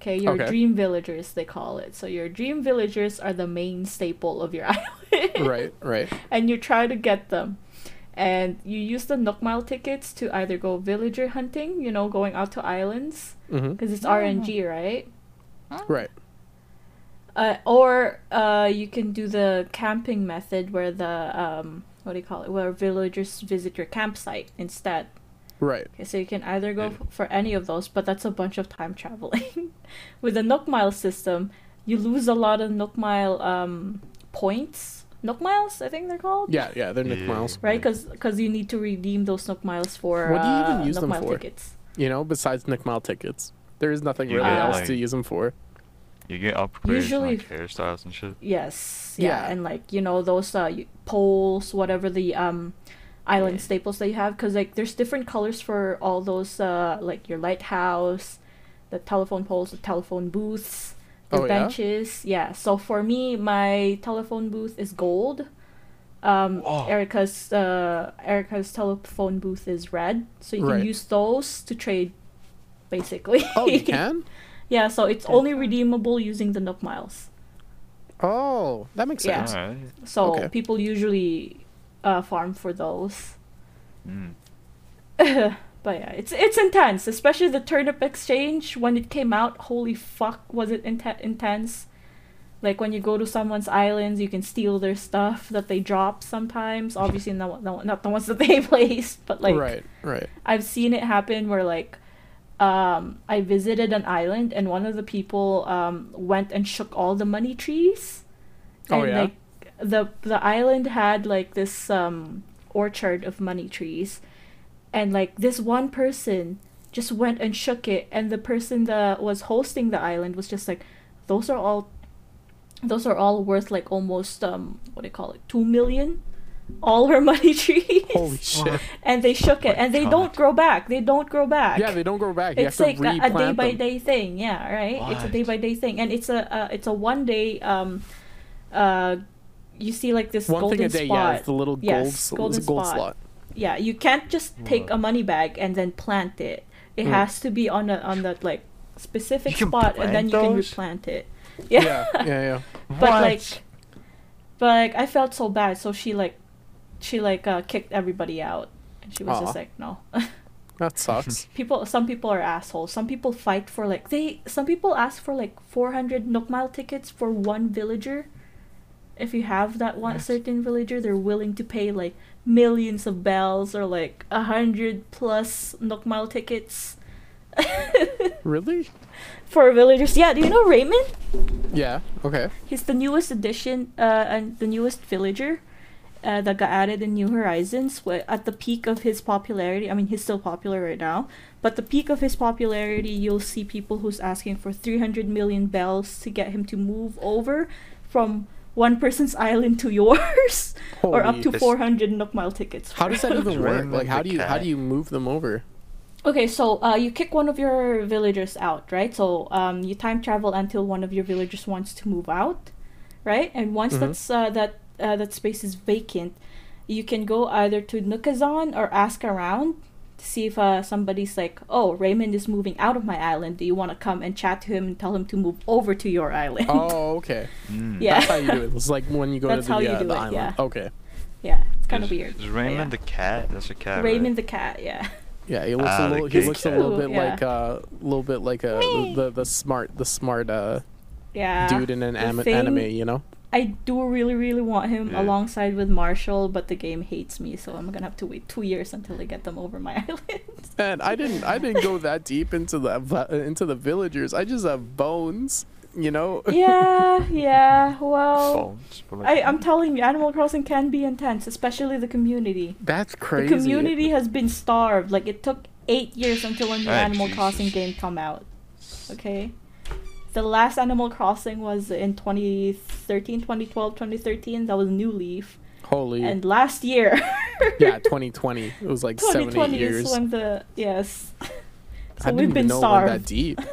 Speaker 3: Okay, your
Speaker 2: Okay.
Speaker 3: dream villagers they call it. So your dream villagers are the main staple of your island,
Speaker 2: Right, right.
Speaker 3: and you try to get them. And you use the Nookmile tickets to either go villager hunting, you know, going out to islands,
Speaker 2: hmm
Speaker 3: because it's RNG, right?
Speaker 2: Right.
Speaker 3: Uh, or uh, you can do the camping method where the um, what do you call it? Where villagers visit your campsite instead.
Speaker 2: Right.
Speaker 3: Okay, so you can either go
Speaker 1: Yeah.
Speaker 2: Hmm.
Speaker 3: f- for any of those, but that's a bunch of time traveling. With the Nook Mile system, you lose a lot of Nook Mile um, points. Nook Miles, I think they're called.
Speaker 2: Yeah, yeah, they're Nick
Speaker 1: Yeah.
Speaker 2: Miles.
Speaker 3: Right, because you need to redeem those Nook Miles for
Speaker 2: What do you even
Speaker 3: uh,
Speaker 2: use
Speaker 3: Nook
Speaker 2: them
Speaker 3: Mile
Speaker 2: for?
Speaker 3: tickets.
Speaker 2: You know, besides Nick Mile tickets. There is nothing
Speaker 1: You
Speaker 2: really
Speaker 3: get,
Speaker 2: else
Speaker 1: like-
Speaker 2: to use them for.
Speaker 1: You get upgrades
Speaker 3: Usually-
Speaker 1: and like hairstyles and shit.
Speaker 3: Yes. Yeah.
Speaker 2: Yeah.
Speaker 3: And like you know those uh, y- poles, whatever the um, island staples that you have, because like there's different colors for all those uh, like your lighthouse, the telephone poles, the telephone booths, the
Speaker 2: Oh, yeah?
Speaker 3: benches. Yeah? So for me, my telephone booth is gold. Um,
Speaker 2: Oh.
Speaker 1: Whoa.
Speaker 3: Erica's uh, Erica's telephone booth is red. So you
Speaker 2: Right.
Speaker 3: can use those to trade, basically.
Speaker 2: Oh, you can?
Speaker 3: yeah. So it's only redeemable using the Nook Miles.
Speaker 2: Oh, that makes
Speaker 3: Yeah.
Speaker 2: sense.
Speaker 1: Alright.
Speaker 3: So
Speaker 2: Okay.
Speaker 3: people usually uh, farm for those.
Speaker 1: Mm.
Speaker 3: But yeah, it's it's intense, especially the turnip exchange when it came out. Holy fuck, was it inte- intense? Like when you go to someone's islands, you can steal their stuff that they drop sometimes. Obviously, not not, not the ones that they place, but like
Speaker 2: right, right.
Speaker 3: I've seen it happen where like um, I visited an island and one of the people um, went and shook all the money trees.
Speaker 2: Oh, yeah?
Speaker 3: Like, the the island had like this um, orchard of money trees, and like this one person just went and shook it, and the person that was hosting the island was just like, those are all, those are all worth like almost um what do you call it two million, all her money trees
Speaker 2: Holy shit.
Speaker 3: and they shook it,
Speaker 1: my
Speaker 3: and they
Speaker 1: God.
Speaker 3: don't grow back. They don't grow back.
Speaker 2: Yeah, they don't grow back. You
Speaker 3: it's
Speaker 2: have
Speaker 3: like
Speaker 2: to
Speaker 3: a- a
Speaker 2: replant
Speaker 3: day by
Speaker 2: them.
Speaker 3: day thing. Yeah, right. It's a
Speaker 1: What?
Speaker 3: day by day thing, and it's a uh, it's a one day. Um, uh, you see like this
Speaker 2: One
Speaker 3: golden
Speaker 2: thing a day,
Speaker 3: spot.
Speaker 2: yeah, it's the little gold,
Speaker 3: Yes,
Speaker 2: sl-
Speaker 3: golden
Speaker 2: gold
Speaker 3: spot.
Speaker 2: slot.
Speaker 3: Yeah, you can't just take a money bag and then plant it. It
Speaker 2: Mm.
Speaker 3: has to be on a on that like specific
Speaker 1: You can
Speaker 3: spot, and then
Speaker 1: plant
Speaker 3: you can
Speaker 1: those?
Speaker 3: replant it.
Speaker 2: Yeah, yeah, yeah.
Speaker 3: but like but like i felt so bad so she like she like uh, kicked everybody out and she was just
Speaker 2: Aw.
Speaker 3: like no
Speaker 2: That sucks.
Speaker 3: people some people are assholes some people fight for like they some people ask for like 400 nook mile tickets for one villager if you have that one
Speaker 1: What?
Speaker 3: certain villager they're willing to pay like millions of bells or like a hundred plus nook mile tickets
Speaker 2: really?
Speaker 3: for villagers yeah do you know raymond
Speaker 2: Yeah. Okay.
Speaker 3: He's the newest addition, uh, and the newest villager, uh, that got added in New Horizons. wh- At the peak of his popularity, I mean, he's still popular right now, but the peak of his popularity, you'll see people who's asking for 300 million bells to get him to move over from one person's island to yours, or up
Speaker 2: Holy-
Speaker 3: to
Speaker 1: This-
Speaker 3: 400 Nook Mile tickets.
Speaker 2: How does that even work?
Speaker 1: Raymond
Speaker 2: Like, how
Speaker 1: the
Speaker 2: do you how
Speaker 1: cat.
Speaker 2: do you move them over?
Speaker 3: Okay, so uh, you kick one of your villagers out, right? So um, you time travel until one of your villagers wants to move out, right? And once
Speaker 2: Mhm.
Speaker 3: that's uh, that uh, that space is vacant, you can go either to Nukazon or ask around to see if uh, somebody's like, "Oh, Raymond is moving out of my island. Do you want to come and chat to him and tell him to move over to your island?"
Speaker 2: Oh, okay.
Speaker 1: Mm.
Speaker 3: yeah,
Speaker 2: That's how you do it. It's like when you go
Speaker 3: That's
Speaker 2: to the,
Speaker 3: how you
Speaker 2: uh,
Speaker 3: do
Speaker 2: the
Speaker 3: it,
Speaker 2: island.
Speaker 3: yeah.
Speaker 2: Okay.
Speaker 3: yeah, it's kind of
Speaker 1: Is-
Speaker 3: weird.
Speaker 1: Is
Speaker 3: but
Speaker 1: Raymond
Speaker 3: yeah.
Speaker 1: the cat? That's a cat. right?
Speaker 3: Raymond the cat? Yeah.
Speaker 2: Yeah, he looks
Speaker 1: Ah,
Speaker 2: a
Speaker 1: the
Speaker 2: little. He
Speaker 1: good
Speaker 2: looks a
Speaker 1: cat.
Speaker 2: little bit
Speaker 3: Ooh, yeah.
Speaker 2: like a little bit like a the, the smart the smart uh,
Speaker 3: Yeah.
Speaker 2: dude in an
Speaker 3: Ah, The
Speaker 2: ami-
Speaker 3: thing-
Speaker 2: anime. You know.
Speaker 3: I do really, really want him
Speaker 1: Yeah.
Speaker 3: alongside with Marshall, but the game hates me, so I'm gonna have to wait two years until I get them over my island.
Speaker 2: And I didn't I didn't go that deep into the into the villagers. I just have bones, you know.
Speaker 3: yeah, yeah.
Speaker 2: Oh,
Speaker 3: Well,
Speaker 1: Phones, but, like,
Speaker 3: I, I'm telling you, Animal Crossing can be intense, especially the community.
Speaker 2: That's crazy.
Speaker 3: The community has been starved. Like it took eight years until a new
Speaker 1: Ah,
Speaker 3: Animal
Speaker 1: Jesus.
Speaker 3: Crossing game come out. Okay. The last Animal Crossing was in 2013, 2012, 2013. That was New Leaf.
Speaker 2: Holy.
Speaker 3: And last year.
Speaker 2: yeah, 2020. It was like seven, eight
Speaker 3: 2020
Speaker 2: years.
Speaker 3: is when the yes. so
Speaker 2: I didn't
Speaker 3: we've
Speaker 2: even
Speaker 3: been
Speaker 2: know it went
Speaker 3: starved.
Speaker 2: that deep.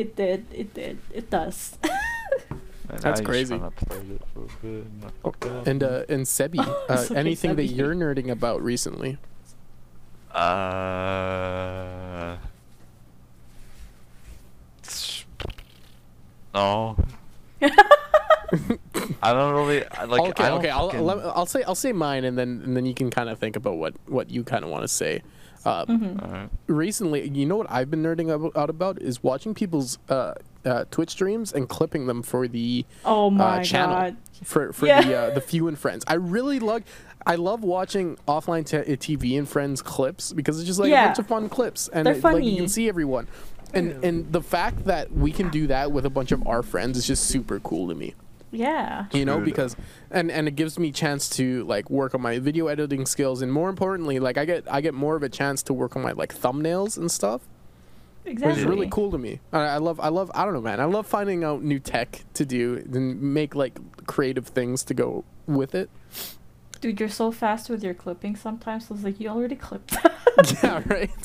Speaker 3: It did. It did. It does.
Speaker 1: and
Speaker 2: that's
Speaker 1: I just
Speaker 2: crazy.
Speaker 1: kinda played it for a bit and I fucked up.
Speaker 2: And uh, and Sebi,
Speaker 3: Oh,
Speaker 2: uh,
Speaker 3: it's okay,
Speaker 2: anything that
Speaker 3: Sebi.
Speaker 2: you're nerding about recently?
Speaker 1: Uh. s- No. I don't really I- like.
Speaker 2: okay,
Speaker 1: I don't
Speaker 2: okay. I'll,
Speaker 1: fucking-
Speaker 2: let- I'll say I'll say mine, and then and then you can kind of think about what what you kind of want to say. Uh,
Speaker 3: Mm-hmm.
Speaker 1: Alright.
Speaker 2: Recently, you know what I've been nerding ab- out about is watching people's uh, uh, Twitch streams and clipping them for the
Speaker 3: oh my
Speaker 2: uh, channel
Speaker 3: god.
Speaker 2: for for
Speaker 3: Yeah.
Speaker 2: the uh, the few and friends. I really like I love watching offline t- TV and friends clips because it's just like
Speaker 3: Yeah.
Speaker 2: a bunch of fun clips and
Speaker 3: They're
Speaker 2: it- like
Speaker 3: funny.
Speaker 2: you can see everyone. And and the fact that we can do that with a bunch of our friends is just super cool to me
Speaker 3: Yeah.
Speaker 2: you know
Speaker 1: True
Speaker 2: because and and it gives me chance to like work on my video editing skills and more importantly like i get i get more of a chance to work on my like thumbnails and stuff which
Speaker 3: Exactly.
Speaker 2: is really cool to me i, I love i love i don't know man i love finding out new tech to do and make like creative things to go with it
Speaker 3: Dude, you're so fast with your clipping sometimes. I was like, you already clipped.
Speaker 2: yeah right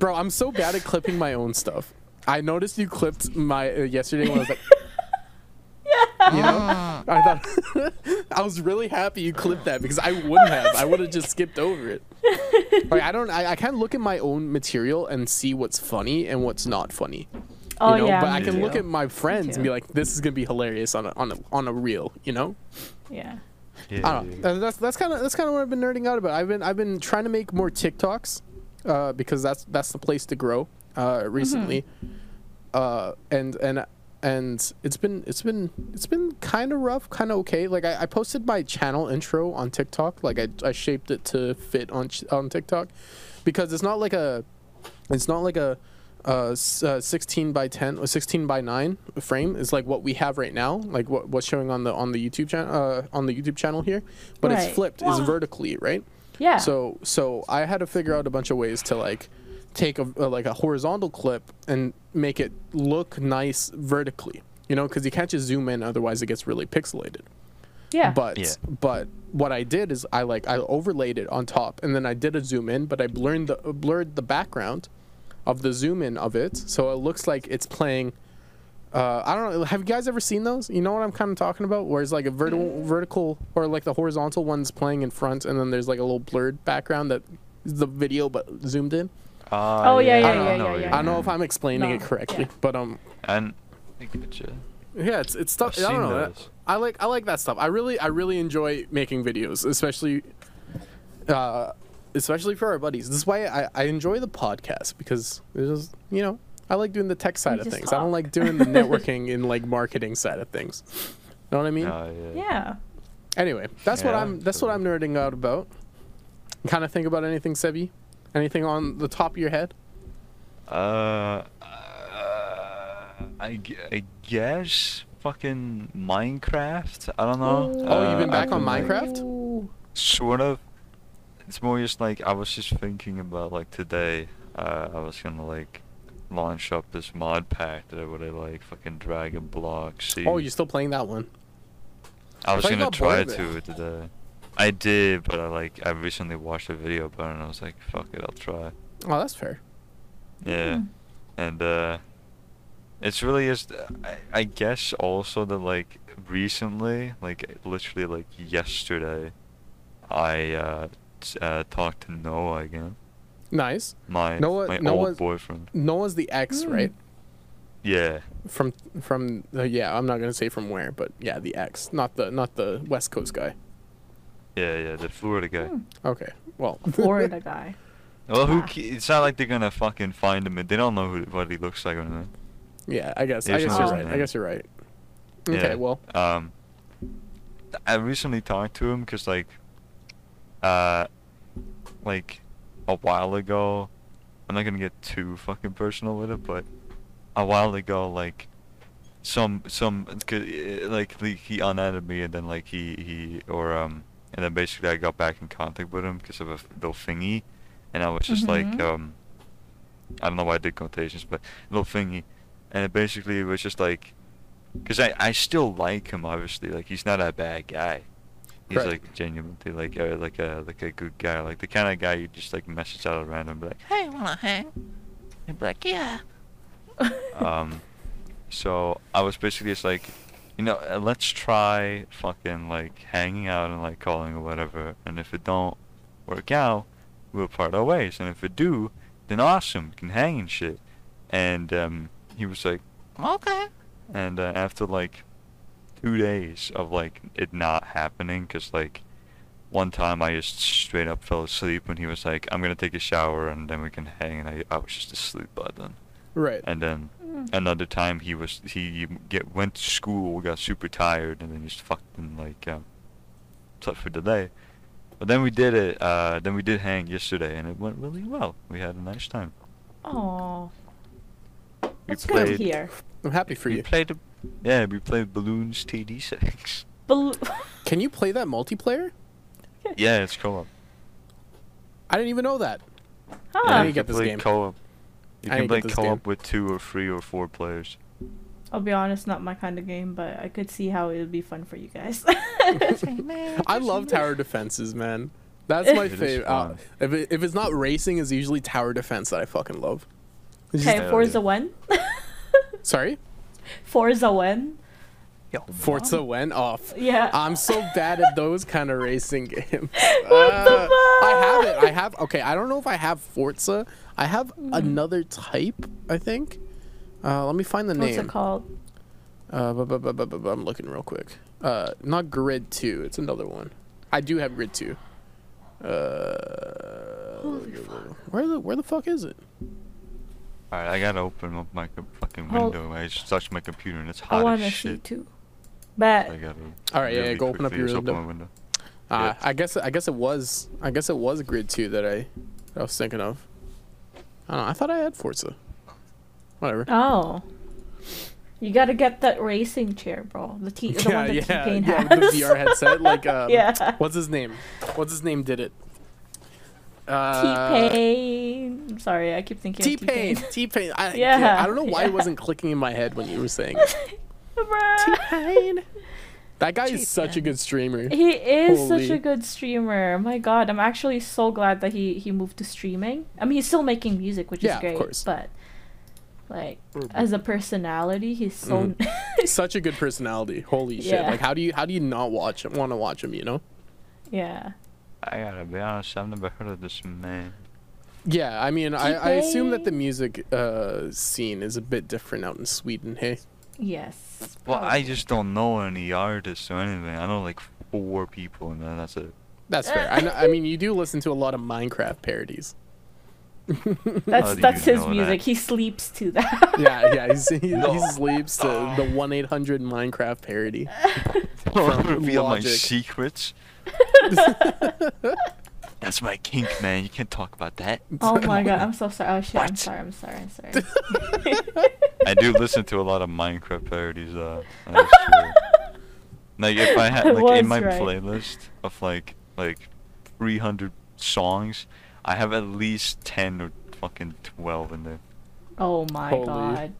Speaker 2: bro i'm so bad at clipping my own stuff i noticed you clipped my uh, yesterday when i was like you know i thought i was really happy you clipped that because i wouldn't have i would have just skipped over it like i don't i, I can't look at my own material and see what's funny and what's not funny you
Speaker 3: oh
Speaker 2: know
Speaker 3: yeah.
Speaker 2: but i
Speaker 3: me
Speaker 2: can look
Speaker 3: too.
Speaker 2: at my friends and be
Speaker 3: too.
Speaker 2: like this is gonna be hilarious on a on a, on a reel you know
Speaker 3: Yeah.
Speaker 1: Yeah,
Speaker 2: I don't know. Uh, That's that's kind of that's kind of what I've been nerding out about. I've been I've been trying to make more TikToks uh, because that's that's the place to grow uh, recently, uh, and and and it's been it's been it's been kind of rough, kind of okay. Like I, I posted my channel intro on TikTok, like I, I shaped it to fit on ch- on TikTok, because it's not like a it's not like a uh, s- uh, 16 by 10 or 16 by 9 frame is like what we have right now like what, what's showing on the on the youtube channel uh, on the youtube channel here but
Speaker 3: Right.
Speaker 2: it's flipped is
Speaker 3: Wow.
Speaker 2: vertically right
Speaker 3: Yeah.
Speaker 2: so so i had to figure out a bunch of ways to like take a, uh, like a horizontal clip and make it look nice vertically you know because you can't just zoom in otherwise it gets really pixelated
Speaker 3: yeah.
Speaker 2: but
Speaker 1: Yeah.
Speaker 2: but what I did is I like I overlaid it on top and then I did a zoom in, but I blurred the blurred the background of the zoom in of it, so it looks like it's playing. Uh, I don't know. Have you guys ever seen those? You know what I'm kind of talking about, where it's like a vertical,
Speaker 3: Mm.
Speaker 2: vertical, or like the horizontal one's playing in front, and then there's like a little blurred background that is the video but zoomed in.
Speaker 1: Uh,
Speaker 3: Oh, yeah, yeah,
Speaker 1: I don't
Speaker 2: yeah,
Speaker 1: know
Speaker 3: yeah,
Speaker 1: what
Speaker 3: yeah.
Speaker 1: you
Speaker 2: I don't know
Speaker 1: mean.
Speaker 2: if I'm explaining
Speaker 3: No,
Speaker 2: it correctly,
Speaker 3: yeah.
Speaker 2: but um,
Speaker 1: And I getcha.
Speaker 2: yeah, it's it's stuff.
Speaker 1: I've
Speaker 2: I don't
Speaker 1: seen
Speaker 2: know.
Speaker 1: those.
Speaker 2: I like I like that stuff. I really I really enjoy making videos, especially, uh, especially for our buddies. This is why I, I enjoy the podcast because it's just you know I like doing the tech side of
Speaker 3: just
Speaker 2: things. I don't
Speaker 3: talk.
Speaker 2: like doing the networking and like marketing side of things. Know what I mean?
Speaker 1: No, yeah.
Speaker 3: yeah.
Speaker 2: Anyway, that's what
Speaker 1: Yeah,
Speaker 2: I'm that's what I'm nerding out about. Kind of think about anything, Sebi? Anything on the top of your head?
Speaker 1: Uh, uh, I, gu- I guess fucking Minecraft. I don't know.
Speaker 2: Oh, you've
Speaker 1: Uh,
Speaker 2: been back
Speaker 1: I've
Speaker 2: on
Speaker 1: like,
Speaker 2: Minecraft?
Speaker 1: sort of. It's more just like I was just thinking about like today. Uh, I was gonna like launch up this mod pack that I would have like fucking Dragon Block. See,
Speaker 2: Oh, you're still playing that one?
Speaker 1: I was
Speaker 2: thought you
Speaker 1: gonna
Speaker 2: got bored
Speaker 1: try
Speaker 2: of
Speaker 1: to today. I did, but I like I recently watched a video about it and I was like, fuck it, I'll try.
Speaker 2: Oh, that's fair.
Speaker 1: Yeah,
Speaker 3: Mhm.
Speaker 1: and uh, it's really just I, I guess also that like recently, like literally like yesterday, I uh, s- uh talked to Noah again,
Speaker 2: Nice.
Speaker 1: my
Speaker 2: Noah-
Speaker 1: my
Speaker 2: Noah's-
Speaker 1: old boyfriend.
Speaker 2: Noah's the ex,
Speaker 3: Hmm.
Speaker 2: right?
Speaker 1: Yeah,
Speaker 2: from from uh, yeah i'm not gonna say from where but yeah the ex not the not the west coast guy
Speaker 1: yeah, yeah, the Florida guy.
Speaker 3: Hmm.
Speaker 2: okay well
Speaker 3: Florida guy.
Speaker 1: Well, who?
Speaker 3: Ah.
Speaker 1: ca- It's not like they're gonna fucking find him. and They don't know who what he looks like or anything.
Speaker 2: yeah i guess i
Speaker 1: There's
Speaker 2: guess
Speaker 3: no
Speaker 2: you're
Speaker 3: reason
Speaker 2: right i
Speaker 1: to.
Speaker 2: guess you're right Okay,
Speaker 1: Yeah.
Speaker 2: well,
Speaker 1: Um, I recently talked to him because like, uh, like a while ago, I'm not gonna get too fucking personal with it, but a while ago, like, some some 'cause, uh, like like, he unadded me and then like he he or um and then basically I got back in contact with him because of a little thingy, and I was just like
Speaker 3: Mhm.
Speaker 1: um, I don't know why I did quotations, but little thingy, and it basically was just like because I, I still like him obviously like he's not a bad guy he's
Speaker 2: Right.
Speaker 1: like genuinely like a like a like a good guy like the kind of guy you just like message out at random be like hey wanna hang and be like yeah um so I was basically just like you know uh, let's try fucking like hanging out and like calling or whatever and if it don't work out we'll part our ways and if it do then awesome can hang and shit and um he was like
Speaker 4: Okay.
Speaker 1: and uh, after like two days of like it not happening, because like one time I just straight up fell asleep when he was like, "I'm gonna take a shower and then we can hang," and I, I was just asleep by then.
Speaker 2: right.
Speaker 1: And uh, then
Speaker 3: Mm.
Speaker 1: another time he was he get went to school, got super tired, and then just fucking like um, slept for the day. But then we did it. Uh, then we did hang yesterday, and it went really well. We had a nice time.
Speaker 3: Oh,
Speaker 1: We
Speaker 3: that's good to hear.
Speaker 2: I'm happy for
Speaker 1: we
Speaker 2: you.
Speaker 1: played. a- Yeah, we played balloons TD6.
Speaker 3: Bel-
Speaker 2: Can you play that multiplayer?
Speaker 1: Yeah, it's co-op.
Speaker 2: I didn't even know that.
Speaker 1: yeah,
Speaker 2: I
Speaker 3: huh.
Speaker 2: need
Speaker 1: you
Speaker 2: to Ah.
Speaker 1: can
Speaker 2: get this
Speaker 1: play
Speaker 2: game.
Speaker 1: co-op. You
Speaker 2: I
Speaker 1: can
Speaker 2: need to
Speaker 1: play
Speaker 2: get this game.
Speaker 1: co-op with two or three or four players.
Speaker 3: I'll be honest, not my kind of game, but I could see how it would be fun for you guys.
Speaker 2: I love tower defenses, man. That's my
Speaker 1: It is
Speaker 2: favorite. Uh,
Speaker 1: fun.
Speaker 2: if, it, if it's not racing, it's usually tower defense that I fucking love. It's just-
Speaker 3: okay, Forza One.
Speaker 2: Sorry,
Speaker 3: Forza One.
Speaker 2: Forza when off.
Speaker 3: Yeah.
Speaker 2: I'm so bad at those kind of racing games.
Speaker 3: the
Speaker 2: What
Speaker 3: fuck? Hmm.
Speaker 2: I have it. I have. Okay, I don't know if I have Forza. I have another type. I think. Uh, let me find the
Speaker 3: What's
Speaker 2: name.
Speaker 3: it called?
Speaker 2: Uh, bu- bu- bu- bu- bu- bu- I'm looking real quick. Uh, not Grid Two. It's another one. I do have Grid Two. Uh, where the where the fuck is it?
Speaker 1: All right, I gotta open up my co- fucking
Speaker 3: Hold-
Speaker 1: window. I just touched my computer and it's
Speaker 3: I
Speaker 1: hot
Speaker 3: want
Speaker 1: as
Speaker 3: to see
Speaker 1: shit.
Speaker 3: too.
Speaker 1: I
Speaker 3: But
Speaker 1: gotta.
Speaker 2: All right, yeah, yeah, go open up
Speaker 1: quickly
Speaker 2: your
Speaker 1: just
Speaker 2: window.
Speaker 1: Open my window.
Speaker 2: Uh,
Speaker 1: Yeah.
Speaker 2: I guess I guess it was I guess it was Grid Two that I that I was thinking of. I don't know. I thought I had Forza. Whatever.
Speaker 3: oh, you gotta get that racing chair, bro. The T, the one that T Pain
Speaker 2: yeah,
Speaker 3: has.
Speaker 2: with the VR headset. Like, um,
Speaker 3: Yeah.
Speaker 2: What's his name? What's his name? Did it? Uh,
Speaker 3: T Pain. I'm sorry, I keep thinking.
Speaker 2: T
Speaker 3: of
Speaker 2: Pain. T Pain. I,
Speaker 3: Yeah,
Speaker 2: yeah, I don't know why
Speaker 3: yeah.
Speaker 2: it wasn't clicking in my head when you were saying it.
Speaker 3: Bruh.
Speaker 2: T-Pain. That guy is such a good streamer.
Speaker 3: He is such
Speaker 2: Holy.
Speaker 3: a good streamer. My God, I'm actually so glad that he he moved to streaming. I mean, he's still making music, which
Speaker 2: Yeah,
Speaker 3: is
Speaker 2: of
Speaker 3: great.
Speaker 2: course. Mm-hmm.
Speaker 3: But like as a personality, he's so
Speaker 2: Such a good personality. Holy shit!
Speaker 3: Yeah.
Speaker 2: Like, how do you how do you not watch him? Want to watch him? You know?
Speaker 3: yeah.
Speaker 1: I gotta be honest. I've never heard of this man.
Speaker 2: Yeah. I mean, I, I assume that the
Speaker 3: T-Pain.
Speaker 2: music uh, scene is a bit different out in Sweden. Hey.
Speaker 3: Yes.
Speaker 1: Well, I
Speaker 3: probably.
Speaker 1: just don't know any artists or anything. I know like four people and then that's it.
Speaker 2: That's fair. I, know, I mean, you do listen to a lot of Minecraft parodies.
Speaker 1: How
Speaker 3: that's
Speaker 1: do you
Speaker 3: that's his
Speaker 1: know
Speaker 3: music.
Speaker 1: that?
Speaker 3: He sleeps to that.
Speaker 2: Yeah, yeah. He's, he, he sleeps to the one eight hundred Minecraft parody.
Speaker 1: Don't reveal my
Speaker 2: logic.
Speaker 1: secrets. that's my kink, man. You can't talk about that.
Speaker 3: oh my God, I'm so sorry. Oh shit, I'm
Speaker 1: What?
Speaker 3: sorry. I'm sorry. I'm sorry.
Speaker 1: I do listen to a lot of Minecraft parodies. Uh, that is true. like if I
Speaker 3: I
Speaker 1: had like in
Speaker 3: was
Speaker 1: my
Speaker 3: right.
Speaker 1: playlist of like like 300 songs, I have at least 10 or fucking 12 in there.
Speaker 3: oh my
Speaker 2: Holy.
Speaker 3: God.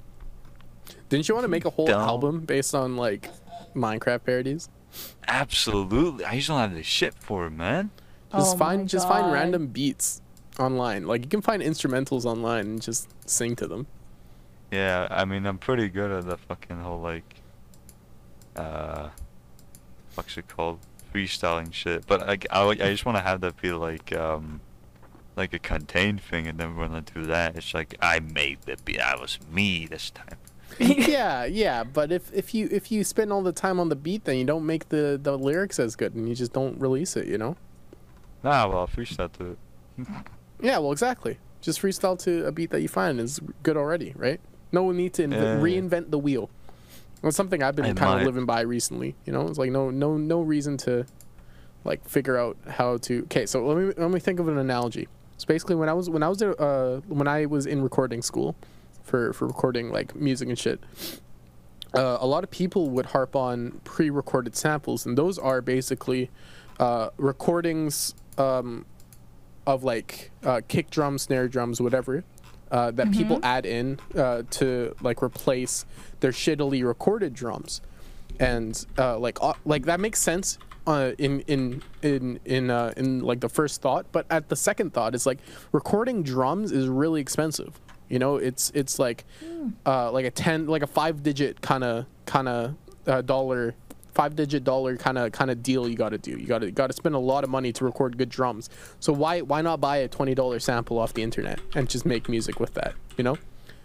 Speaker 2: Didn't you want to make a whole
Speaker 1: Dumb.
Speaker 2: album based on like Minecraft parodies?
Speaker 1: Absolutely, I just don't have the shit for it, man.
Speaker 2: Just
Speaker 3: Oh my
Speaker 2: find just find
Speaker 3: God.
Speaker 2: random beats online. Like you can find instrumentals online and just sing to them.
Speaker 1: Yeah, I mean I'm pretty good at the fucking whole like uh, what's it called, freestyling shit. But like I, I just want to have that be like um. Like a contained thing, and then when I do that, it's like I made the beat. I was me this time.
Speaker 2: yeah, yeah, but if if you if you spend all the time on the beat then you don't make the the lyrics as good and you just don't release it, you know?
Speaker 1: Nah, well, freestyle to it.
Speaker 2: Yeah, well exactly. Just freestyle to a beat that you find is good already, right? No need to inv-
Speaker 1: Yeah.
Speaker 2: reinvent the wheel. It's something I've
Speaker 1: I
Speaker 2: been kind
Speaker 1: might.
Speaker 2: of living by recently. You know, it's like no, no, no reason to, like, figure out how to. Okay, so let me let me think of an analogy. So basically, when I was when I was uh when I was in recording school, for for recording like music and shit, uh, a lot of people would harp on pre-recorded samples, and those are basically, uh, recordings um, of like uh, kick drums, snare drums, whatever, uh, that people add in uh, to like replace their shittily recorded drums, and uh, like au- like that makes sense uh, in in in in uh, in like the first thought, but at the second thought, it's like recording drums is really expensive. You know, it's it's like uh, like a ten like a five digit kind of kind of uh, dollar five digit dollar kind of kind of deal you got to do. You got to got to spend a lot of money to record good drums. So why why not buy a twenty dollar sample off the internet and just make music with that? You know,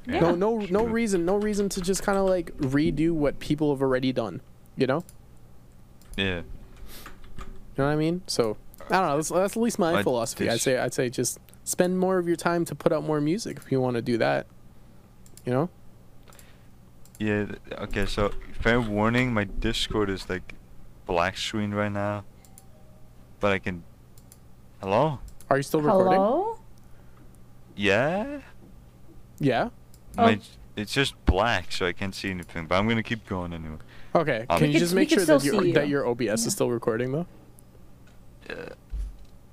Speaker 3: Yeah.
Speaker 2: no no no
Speaker 1: True.
Speaker 2: reason no reason to just kind of like redo what people have already done. You know,
Speaker 1: Yeah.
Speaker 2: you know what I mean? So I don't know. That's, that's at least my
Speaker 1: I
Speaker 2: philosophy. I'd
Speaker 1: dis-
Speaker 2: say I'd say just spend more of your time to put out more music if you want to do that. You know.
Speaker 1: Yeah. th- Okay. So fair warning, my Discord is like black screen right now, but I can. Hello.
Speaker 2: Are you still recording?
Speaker 3: Hello?
Speaker 1: Yeah.
Speaker 2: Yeah.
Speaker 1: My
Speaker 3: Oh.
Speaker 1: j- it's just black, so I can't see anything. But I'm gonna keep going anyway.
Speaker 2: Okay.
Speaker 1: Um,
Speaker 2: can
Speaker 1: We
Speaker 2: you
Speaker 1: could-
Speaker 2: just
Speaker 3: we
Speaker 2: make
Speaker 3: could
Speaker 2: sure that
Speaker 3: still
Speaker 2: your
Speaker 3: see
Speaker 2: that
Speaker 3: you.
Speaker 2: your OBS is still recording though?
Speaker 1: Uh,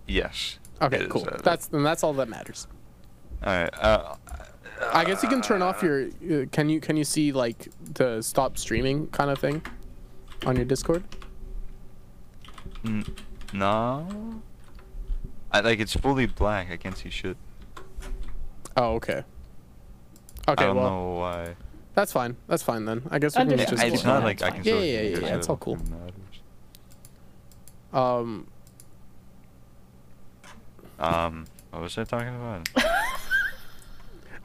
Speaker 1: yes. it
Speaker 2: Okay,
Speaker 1: is,
Speaker 2: cool.
Speaker 1: uh,
Speaker 2: That's then that's all that matters.
Speaker 1: all right. Uh,
Speaker 2: I guess you can turn off your. Uh, can you can you see like the stop streaming kind of thing on your Discord?
Speaker 1: n- no. I like it's fully black. I can't see shit.
Speaker 2: Oh, okay.
Speaker 1: I
Speaker 2: Okay,
Speaker 1: don't
Speaker 2: well
Speaker 1: know why.
Speaker 2: that's fine. That's fine then. I guess we can
Speaker 1: Yeah,
Speaker 3: Understood.
Speaker 2: just.
Speaker 1: it's
Speaker 2: keep
Speaker 1: not
Speaker 2: going.
Speaker 1: like I can.
Speaker 2: Yeah,
Speaker 1: still
Speaker 2: yeah,
Speaker 1: see
Speaker 2: yeah,
Speaker 1: it,
Speaker 2: yeah,
Speaker 1: so
Speaker 2: it's all cool.
Speaker 1: nothing matters.
Speaker 2: Um,
Speaker 1: Um, what was I talking about?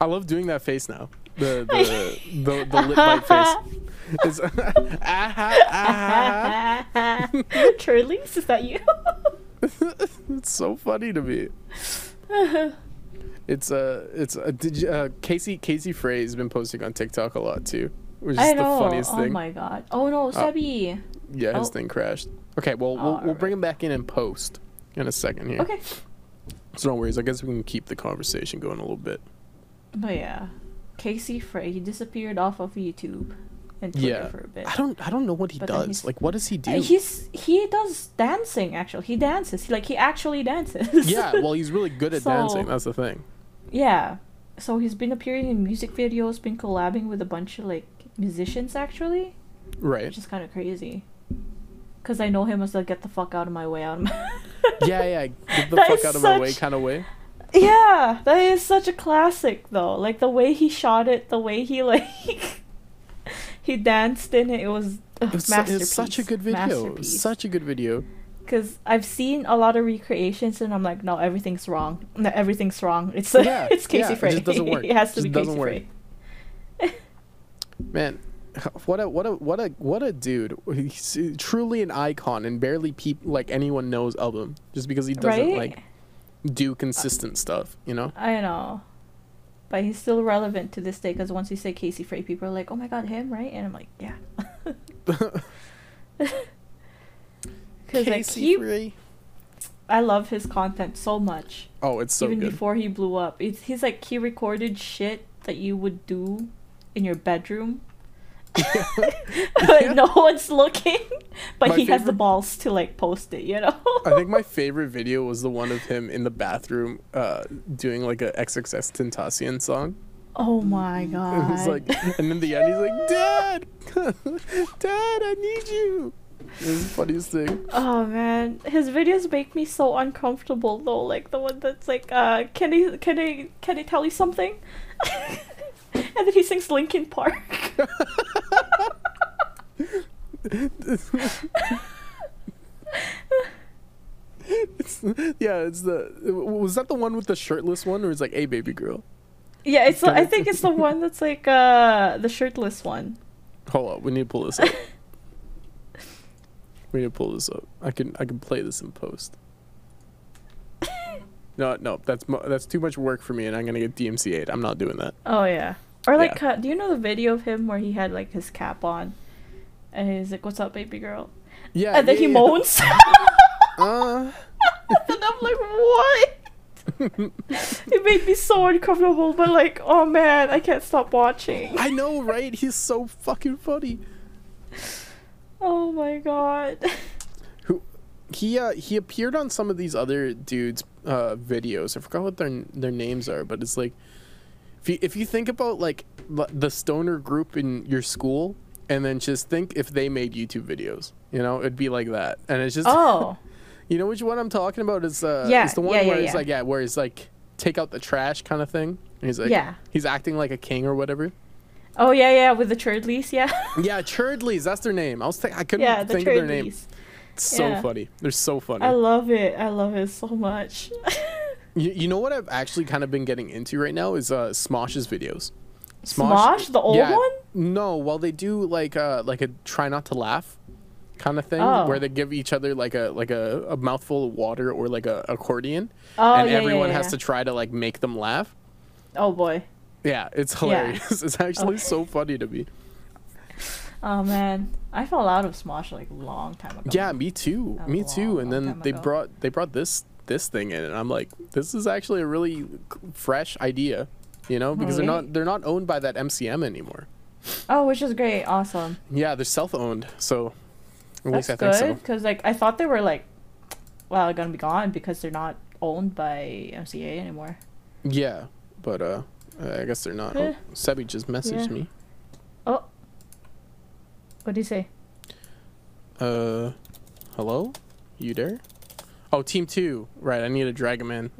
Speaker 2: I love doing that face now. The the the, the lip bite face. It's, Ah, aha, aha.
Speaker 3: Turlings, is that you?
Speaker 2: it's so funny to me. It's uh, it's uh, did you, uh, Casey Casey Frey has been posting on TikTok a lot too, which is
Speaker 3: I
Speaker 2: the
Speaker 3: know.
Speaker 2: funniest
Speaker 3: oh
Speaker 2: thing. Uh,
Speaker 3: my god. Oh no, Sebi.
Speaker 2: Yeah, his
Speaker 3: Oh.
Speaker 2: thing crashed. Okay, well we'll, we'll
Speaker 3: Alright.
Speaker 2: bring him back in and post in a second here.
Speaker 3: Okay.
Speaker 2: So no worries. I guess we can keep the conversation going a little bit.
Speaker 3: But yeah. Casey Frey, he disappeared off of YouTube and Twitter
Speaker 2: yeah,
Speaker 3: for a bit.
Speaker 2: I don't I don't know what he
Speaker 3: But then
Speaker 2: does.
Speaker 3: he's-
Speaker 2: Like, what does he do?
Speaker 3: Uh, He's he does dancing actually. He dances. He, like he actually dances.
Speaker 2: yeah, well he's really good at dancing.
Speaker 3: So-
Speaker 2: That's the thing.
Speaker 3: yeah. So he's been appearing in music videos, been collabing with a bunch of like musicians actually,
Speaker 2: Right.
Speaker 3: which is kind of crazy. Cause I know him as the get the fuck out of my way out of my.
Speaker 2: Yeah, yeah. Get the
Speaker 3: That
Speaker 2: fuck
Speaker 3: is
Speaker 2: out of my way,
Speaker 3: such-
Speaker 2: kind of way.
Speaker 3: Yeah, that is such a classic though. Like the way he shot it, the way he like he danced in it, it was a
Speaker 2: It's,
Speaker 3: masterpiece.
Speaker 2: it's such a good video. It's Such a good video.
Speaker 3: because I've seen a lot of recreations and I'm like, no, everything's wrong. No, everything's wrong. It's
Speaker 2: Yeah,
Speaker 3: it's Casey
Speaker 2: yeah, it
Speaker 3: Frey.
Speaker 2: just doesn't work.
Speaker 3: it has to
Speaker 2: Just
Speaker 3: be
Speaker 2: doesn't
Speaker 3: Casey
Speaker 2: work.
Speaker 3: Frey.
Speaker 2: Man, what a what a what a what a dude! He's uh, truly an icon, and barely peop like anyone knows of him, just because he doesn't
Speaker 3: Right?
Speaker 2: like do consistent stuff. You know?
Speaker 3: I know, but he's still relevant to this day because once you say Casey Frey, people are like, oh my god, him, right? And I'm like, yeah. Because like he,
Speaker 2: Frey.
Speaker 3: I love his content so much.
Speaker 2: Oh, it's so
Speaker 3: even
Speaker 2: good.
Speaker 3: before he blew up. It's, he's like he recorded shit that you would do in your bedroom.
Speaker 2: Yeah.
Speaker 3: but no one's looking, but
Speaker 2: My
Speaker 3: he has the
Speaker 2: favorite-
Speaker 3: balls to like post it, you know.
Speaker 2: I think my favorite video was the one of him in the bathroom, uh, doing like a XXX Tentacion song.
Speaker 3: oh my
Speaker 2: It
Speaker 3: god!
Speaker 2: was like, and in the end, he's like, "Dad, Dad, I need you." It was the funniest thing.
Speaker 3: oh man, his videos make me so uncomfortable though. Like the one that's like, uh, can I can I can I tell you something? and then he sings Linkin Park.
Speaker 2: It's, yeah, it's the was that the one with the shirtless one, or it's like, "Hey, baby girl."
Speaker 3: yeah, it's the, I
Speaker 2: Don't-
Speaker 3: think it's the one that's like uh the shirtless one.
Speaker 2: Hold up, we need to pull this up. we need to pull this up. I can I can play this in post. No, no, that's mo- that's too much work for me, and I'm gonna get DMCA'd. I'm not doing that.
Speaker 3: Oh yeah. Or like,
Speaker 2: Yeah.
Speaker 3: uh, do you know the video of him where he had like his cap on, And he's like, "What's up, baby girl?"
Speaker 2: Yeah.
Speaker 3: and then
Speaker 2: yeah,
Speaker 3: he
Speaker 2: yeah.
Speaker 3: moans.
Speaker 2: Uh,
Speaker 3: and I'm like, "What?"
Speaker 2: Uh,
Speaker 3: it made me so uncomfortable, but like, oh man, I can't stop watching.
Speaker 2: I know, right? He's so fucking funny.
Speaker 3: Oh my god.
Speaker 2: Who? He uh he appeared on some of these other dudes' uh videos. I forgot what their their names are, but it's like if you if you think about like l- the stoner group in your school, and then just think if they made YouTube videos, you know, it'd be like that. And it's just
Speaker 3: Oh.
Speaker 2: You know which one I'm talking about is uh
Speaker 3: Yeah,
Speaker 2: is the one
Speaker 3: yeah, yeah,
Speaker 2: where it's
Speaker 3: yeah.
Speaker 2: like yeah, where it's like take out the trash kind of thing. And he's like
Speaker 3: Yeah.
Speaker 2: he's acting like a king or whatever.
Speaker 3: Oh yeah, yeah, with the churdleys, yeah.
Speaker 2: Yeah, Churdleys, that's their name. I was think I couldn't
Speaker 3: yeah, the
Speaker 2: think of their name.
Speaker 3: churdleys.
Speaker 2: It's so
Speaker 3: Yeah.
Speaker 2: funny. They're so funny.
Speaker 3: I love it. I love it so much.
Speaker 2: you, you know what I've actually kind of been getting into right now is uh Smosh's videos.
Speaker 3: Smosh, the old
Speaker 2: yeah,
Speaker 3: one?
Speaker 2: No, well they do like uh like a try not to laugh kind of thing
Speaker 3: Oh.
Speaker 2: where they give each other like a like a, a mouthful of water or like a accordion
Speaker 3: Oh
Speaker 2: and
Speaker 3: yeah, yeah,
Speaker 2: everyone
Speaker 3: yeah.
Speaker 2: has to try to like make them laugh.
Speaker 3: Oh boy.
Speaker 2: Yeah, it's hilarious. It's actually
Speaker 3: Okay.
Speaker 2: so funny to me.
Speaker 3: Oh man. I fell out of Smosh like a long time ago.
Speaker 2: Yeah, me too.
Speaker 3: That was
Speaker 2: Me
Speaker 3: a
Speaker 2: too.
Speaker 3: long, long
Speaker 2: And then
Speaker 3: time
Speaker 2: they
Speaker 3: ago.
Speaker 2: brought they brought this this thing in, and I'm like, this is actually a really c- fresh idea, you know, because they're not
Speaker 3: Alright.
Speaker 2: they're not owned by that MCM anymore.
Speaker 3: Oh, which is great. Awesome.
Speaker 2: Yeah, they're self owned. So at
Speaker 3: That's
Speaker 2: least I
Speaker 3: good.
Speaker 2: think so.
Speaker 3: Cause like I thought they were like well, gonna be gone because they're not owned by MCA anymore.
Speaker 2: Yeah, but uh, I guess they're not.
Speaker 3: Eh.
Speaker 2: Oh, Sebi just messaged
Speaker 3: Yeah.
Speaker 2: me.
Speaker 3: Oh. What do you say?
Speaker 2: Uh, hello, you there? Oh, team two. Right, I need to drag him in.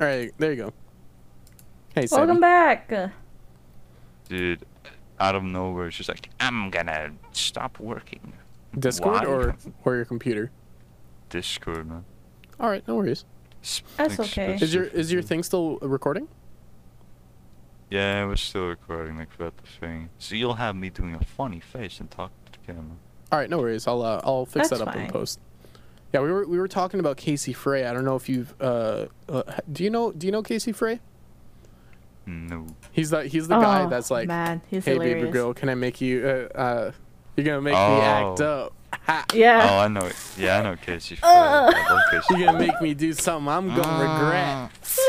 Speaker 2: All right, there you go. Hey, Sebi.
Speaker 3: Welcome back. Uh,
Speaker 1: Dude, out of nowhere, she's like, I'm gonna stop working.
Speaker 2: Discord
Speaker 1: Why?
Speaker 2: or or your computer.
Speaker 1: Discord, man.
Speaker 2: All right, no worries.
Speaker 1: Sp-
Speaker 3: That's okay.
Speaker 2: Is your is your thing still recording?
Speaker 1: Yeah, we're still recording, like, about the thing. So you'll have me doing a funny face and talk to the camera.
Speaker 2: All right, no worries. I'll uh, I'll fix
Speaker 3: That's
Speaker 2: that up in
Speaker 3: fine.
Speaker 2: post. Yeah, we were we were talking about Casey Frey. I don't know if you've uh, uh h- do you know do you know Casey Frey?
Speaker 1: No.
Speaker 2: He's the he's the guy
Speaker 3: oh,
Speaker 2: that's like,
Speaker 3: man, he's
Speaker 2: hey
Speaker 3: hilarious.
Speaker 2: baby girl, can I make you uh, uh you're gonna make me act
Speaker 1: Oh.
Speaker 2: up. Ha.
Speaker 1: Oh,
Speaker 3: Yeah.
Speaker 1: I know. Yeah, I know Casey. Frey.
Speaker 3: Uh.
Speaker 1: I love Casey.
Speaker 2: You're gonna make me do something I'm gonna
Speaker 3: Ah.
Speaker 2: regret.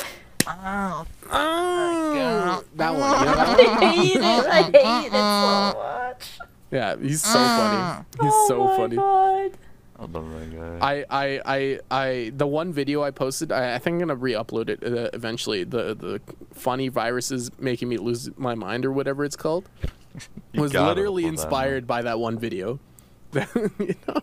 Speaker 1: Oh,
Speaker 2: Oh, that one. you know?
Speaker 3: I hate it. I hate it so much.
Speaker 2: Yeah, he's so funny. He's
Speaker 3: oh
Speaker 2: so
Speaker 3: my
Speaker 2: funny.
Speaker 3: God.
Speaker 1: my god.
Speaker 2: I, I, I, I, the one video I posted, I, I think I'm gonna re-upload it uh, eventually. The the funny viruses making me lose my mind or whatever it's called
Speaker 1: You
Speaker 2: was
Speaker 1: gotta
Speaker 2: literally
Speaker 1: pull that
Speaker 2: inspired by that one video. you know,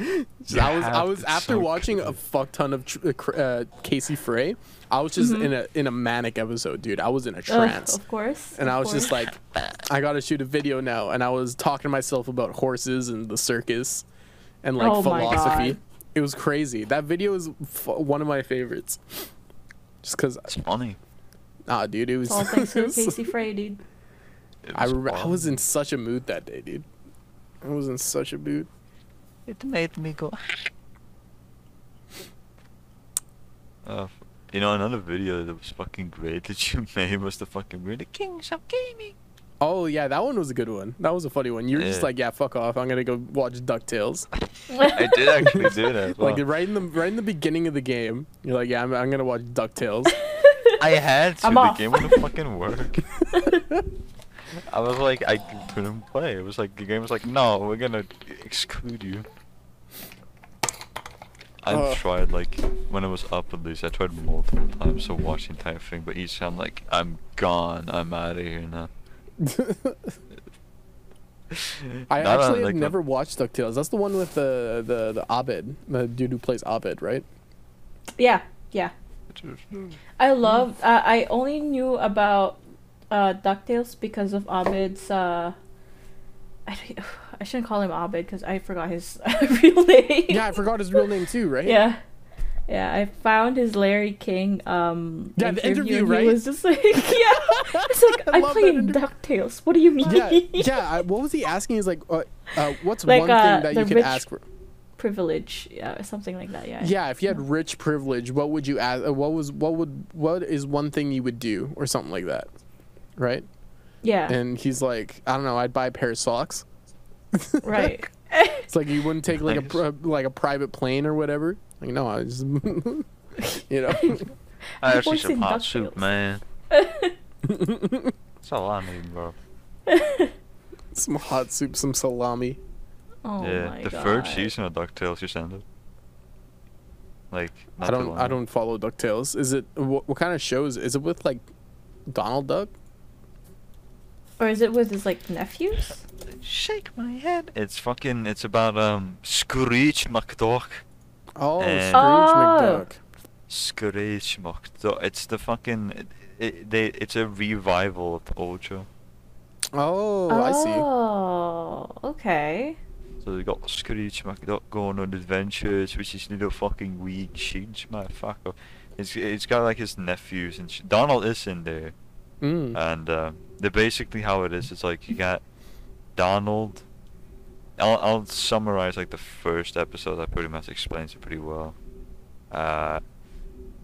Speaker 1: You
Speaker 2: I was I
Speaker 1: have
Speaker 2: was
Speaker 1: to-
Speaker 2: after
Speaker 1: so
Speaker 2: watching a
Speaker 1: good.
Speaker 2: fuck ton of tr- uh, cr- uh, Casey Frey, I was just in a in a manic episode, dude. I was in a
Speaker 3: Ugh,
Speaker 2: trance.
Speaker 3: of course.
Speaker 2: and
Speaker 3: of
Speaker 2: I was just
Speaker 3: course.
Speaker 2: like, I gotta shoot a video now. And I was talking to myself about horses and the circus, and like
Speaker 3: Oh my
Speaker 2: philosophy.
Speaker 3: God.
Speaker 2: It was crazy. That video is f- one of my favorites. Just cause,
Speaker 1: It's funny.
Speaker 2: ah, dude, it was.
Speaker 3: It's all thanks
Speaker 2: it
Speaker 3: to
Speaker 2: was-
Speaker 3: Casey Frey, dude.
Speaker 1: It
Speaker 2: I, re- I
Speaker 1: fun.
Speaker 2: was in such a mood that day, dude. I was in such a mood.
Speaker 1: It made me go. Uh, f- you know, another video that was fucking great that you made was the fucking we're the kings of gaming.
Speaker 2: Oh yeah, that one was a good one. That was a funny one. You were just
Speaker 1: Yeah.
Speaker 2: like, yeah, fuck off. I'm gonna go watch Ducktales.
Speaker 1: I did actually do that.
Speaker 2: Like
Speaker 1: well,
Speaker 2: right in the right in the beginning of the game, you're like, yeah, I'm, I'm gonna watch Ducktales.
Speaker 1: I had to.
Speaker 3: I'm
Speaker 1: the
Speaker 3: off.
Speaker 1: game wouldn't fucking work. I was like, I couldn't play. It was like the game was like, no, we're gonna exclude you. I
Speaker 2: Uh.
Speaker 1: tried like when I was up at least. I tried multiple times to watch the entire thing, but each time like I'm gone. I'm out of here now.
Speaker 2: I
Speaker 1: Not on,
Speaker 2: actually have
Speaker 1: like, the-
Speaker 2: never watched DuckTales. That's the one with the, the, the Abed, the dude who plays Abed, right?
Speaker 3: yeah, yeah. I love. Uh, I only knew about uh, Ducktales because of Abed's. Uh, I, don't- I shouldn't call him Abed because I forgot his real name.
Speaker 2: Yeah, I forgot his real name too, right?
Speaker 3: Yeah. Yeah, I found his Larry King um
Speaker 2: Yeah, the interview,
Speaker 3: and
Speaker 2: right?
Speaker 3: He was just like yeah. It's like
Speaker 2: I
Speaker 3: I,
Speaker 2: love that
Speaker 3: played
Speaker 2: interview.
Speaker 3: DuckTales. What do you mean?
Speaker 2: yeah, yeah. I, what was he asking? He's like, uh, uh, what's
Speaker 3: Like,
Speaker 2: one
Speaker 3: uh,
Speaker 2: thing that
Speaker 3: the
Speaker 2: you could
Speaker 3: rich-
Speaker 2: ask for?
Speaker 3: Privilege, yeah, or something like that, yeah.
Speaker 2: Yeah, if you had rich privilege, what would you ask? Uh, what was what would what is one thing you would do or something like that, right?
Speaker 3: Yeah.
Speaker 2: And he's like, I don't know, I'd buy a pair of socks.
Speaker 3: right.
Speaker 2: It's like you wouldn't take like a
Speaker 1: Nice.
Speaker 2: pri- like a private plane or whatever. Like no, I just you know.
Speaker 1: I
Speaker 3: Your
Speaker 1: actually
Speaker 3: voice
Speaker 1: some
Speaker 3: in
Speaker 1: hot soup,
Speaker 3: DuckTales.
Speaker 1: man. That's all I need, bro.
Speaker 2: some hot soup, some salami.
Speaker 3: Oh
Speaker 1: yeah,
Speaker 3: my
Speaker 1: the
Speaker 3: god.
Speaker 1: third season of DuckTales just ended. Like, not
Speaker 2: I
Speaker 1: too
Speaker 2: don't
Speaker 1: long
Speaker 2: I
Speaker 1: ago.
Speaker 2: don't follow Ducktales. Is it what, what kind of shows? Is it with like Donald Duck?
Speaker 3: Or is it with his like nephews?
Speaker 1: Shake my head. It's fucking. It's about um Screech McDuck.
Speaker 2: Oh,
Speaker 1: And-
Speaker 2: Scrooge
Speaker 3: Oh.
Speaker 2: McDuck.
Speaker 1: Screech McDuck. It's the fucking. It, it, they. It's a revival of the old show.
Speaker 2: Oh, I see.
Speaker 3: Oh, okay.
Speaker 1: So they got Screech McDuck going on adventures, which is little fucking weed shit, motherfucker. It's it's got like his nephews and sh- Donald is in there,
Speaker 2: Mm.
Speaker 1: and uh, they basically how it is. It's like you got Donald. I'll I'll summarize like the first episode. That pretty much explains it pretty well. Uh,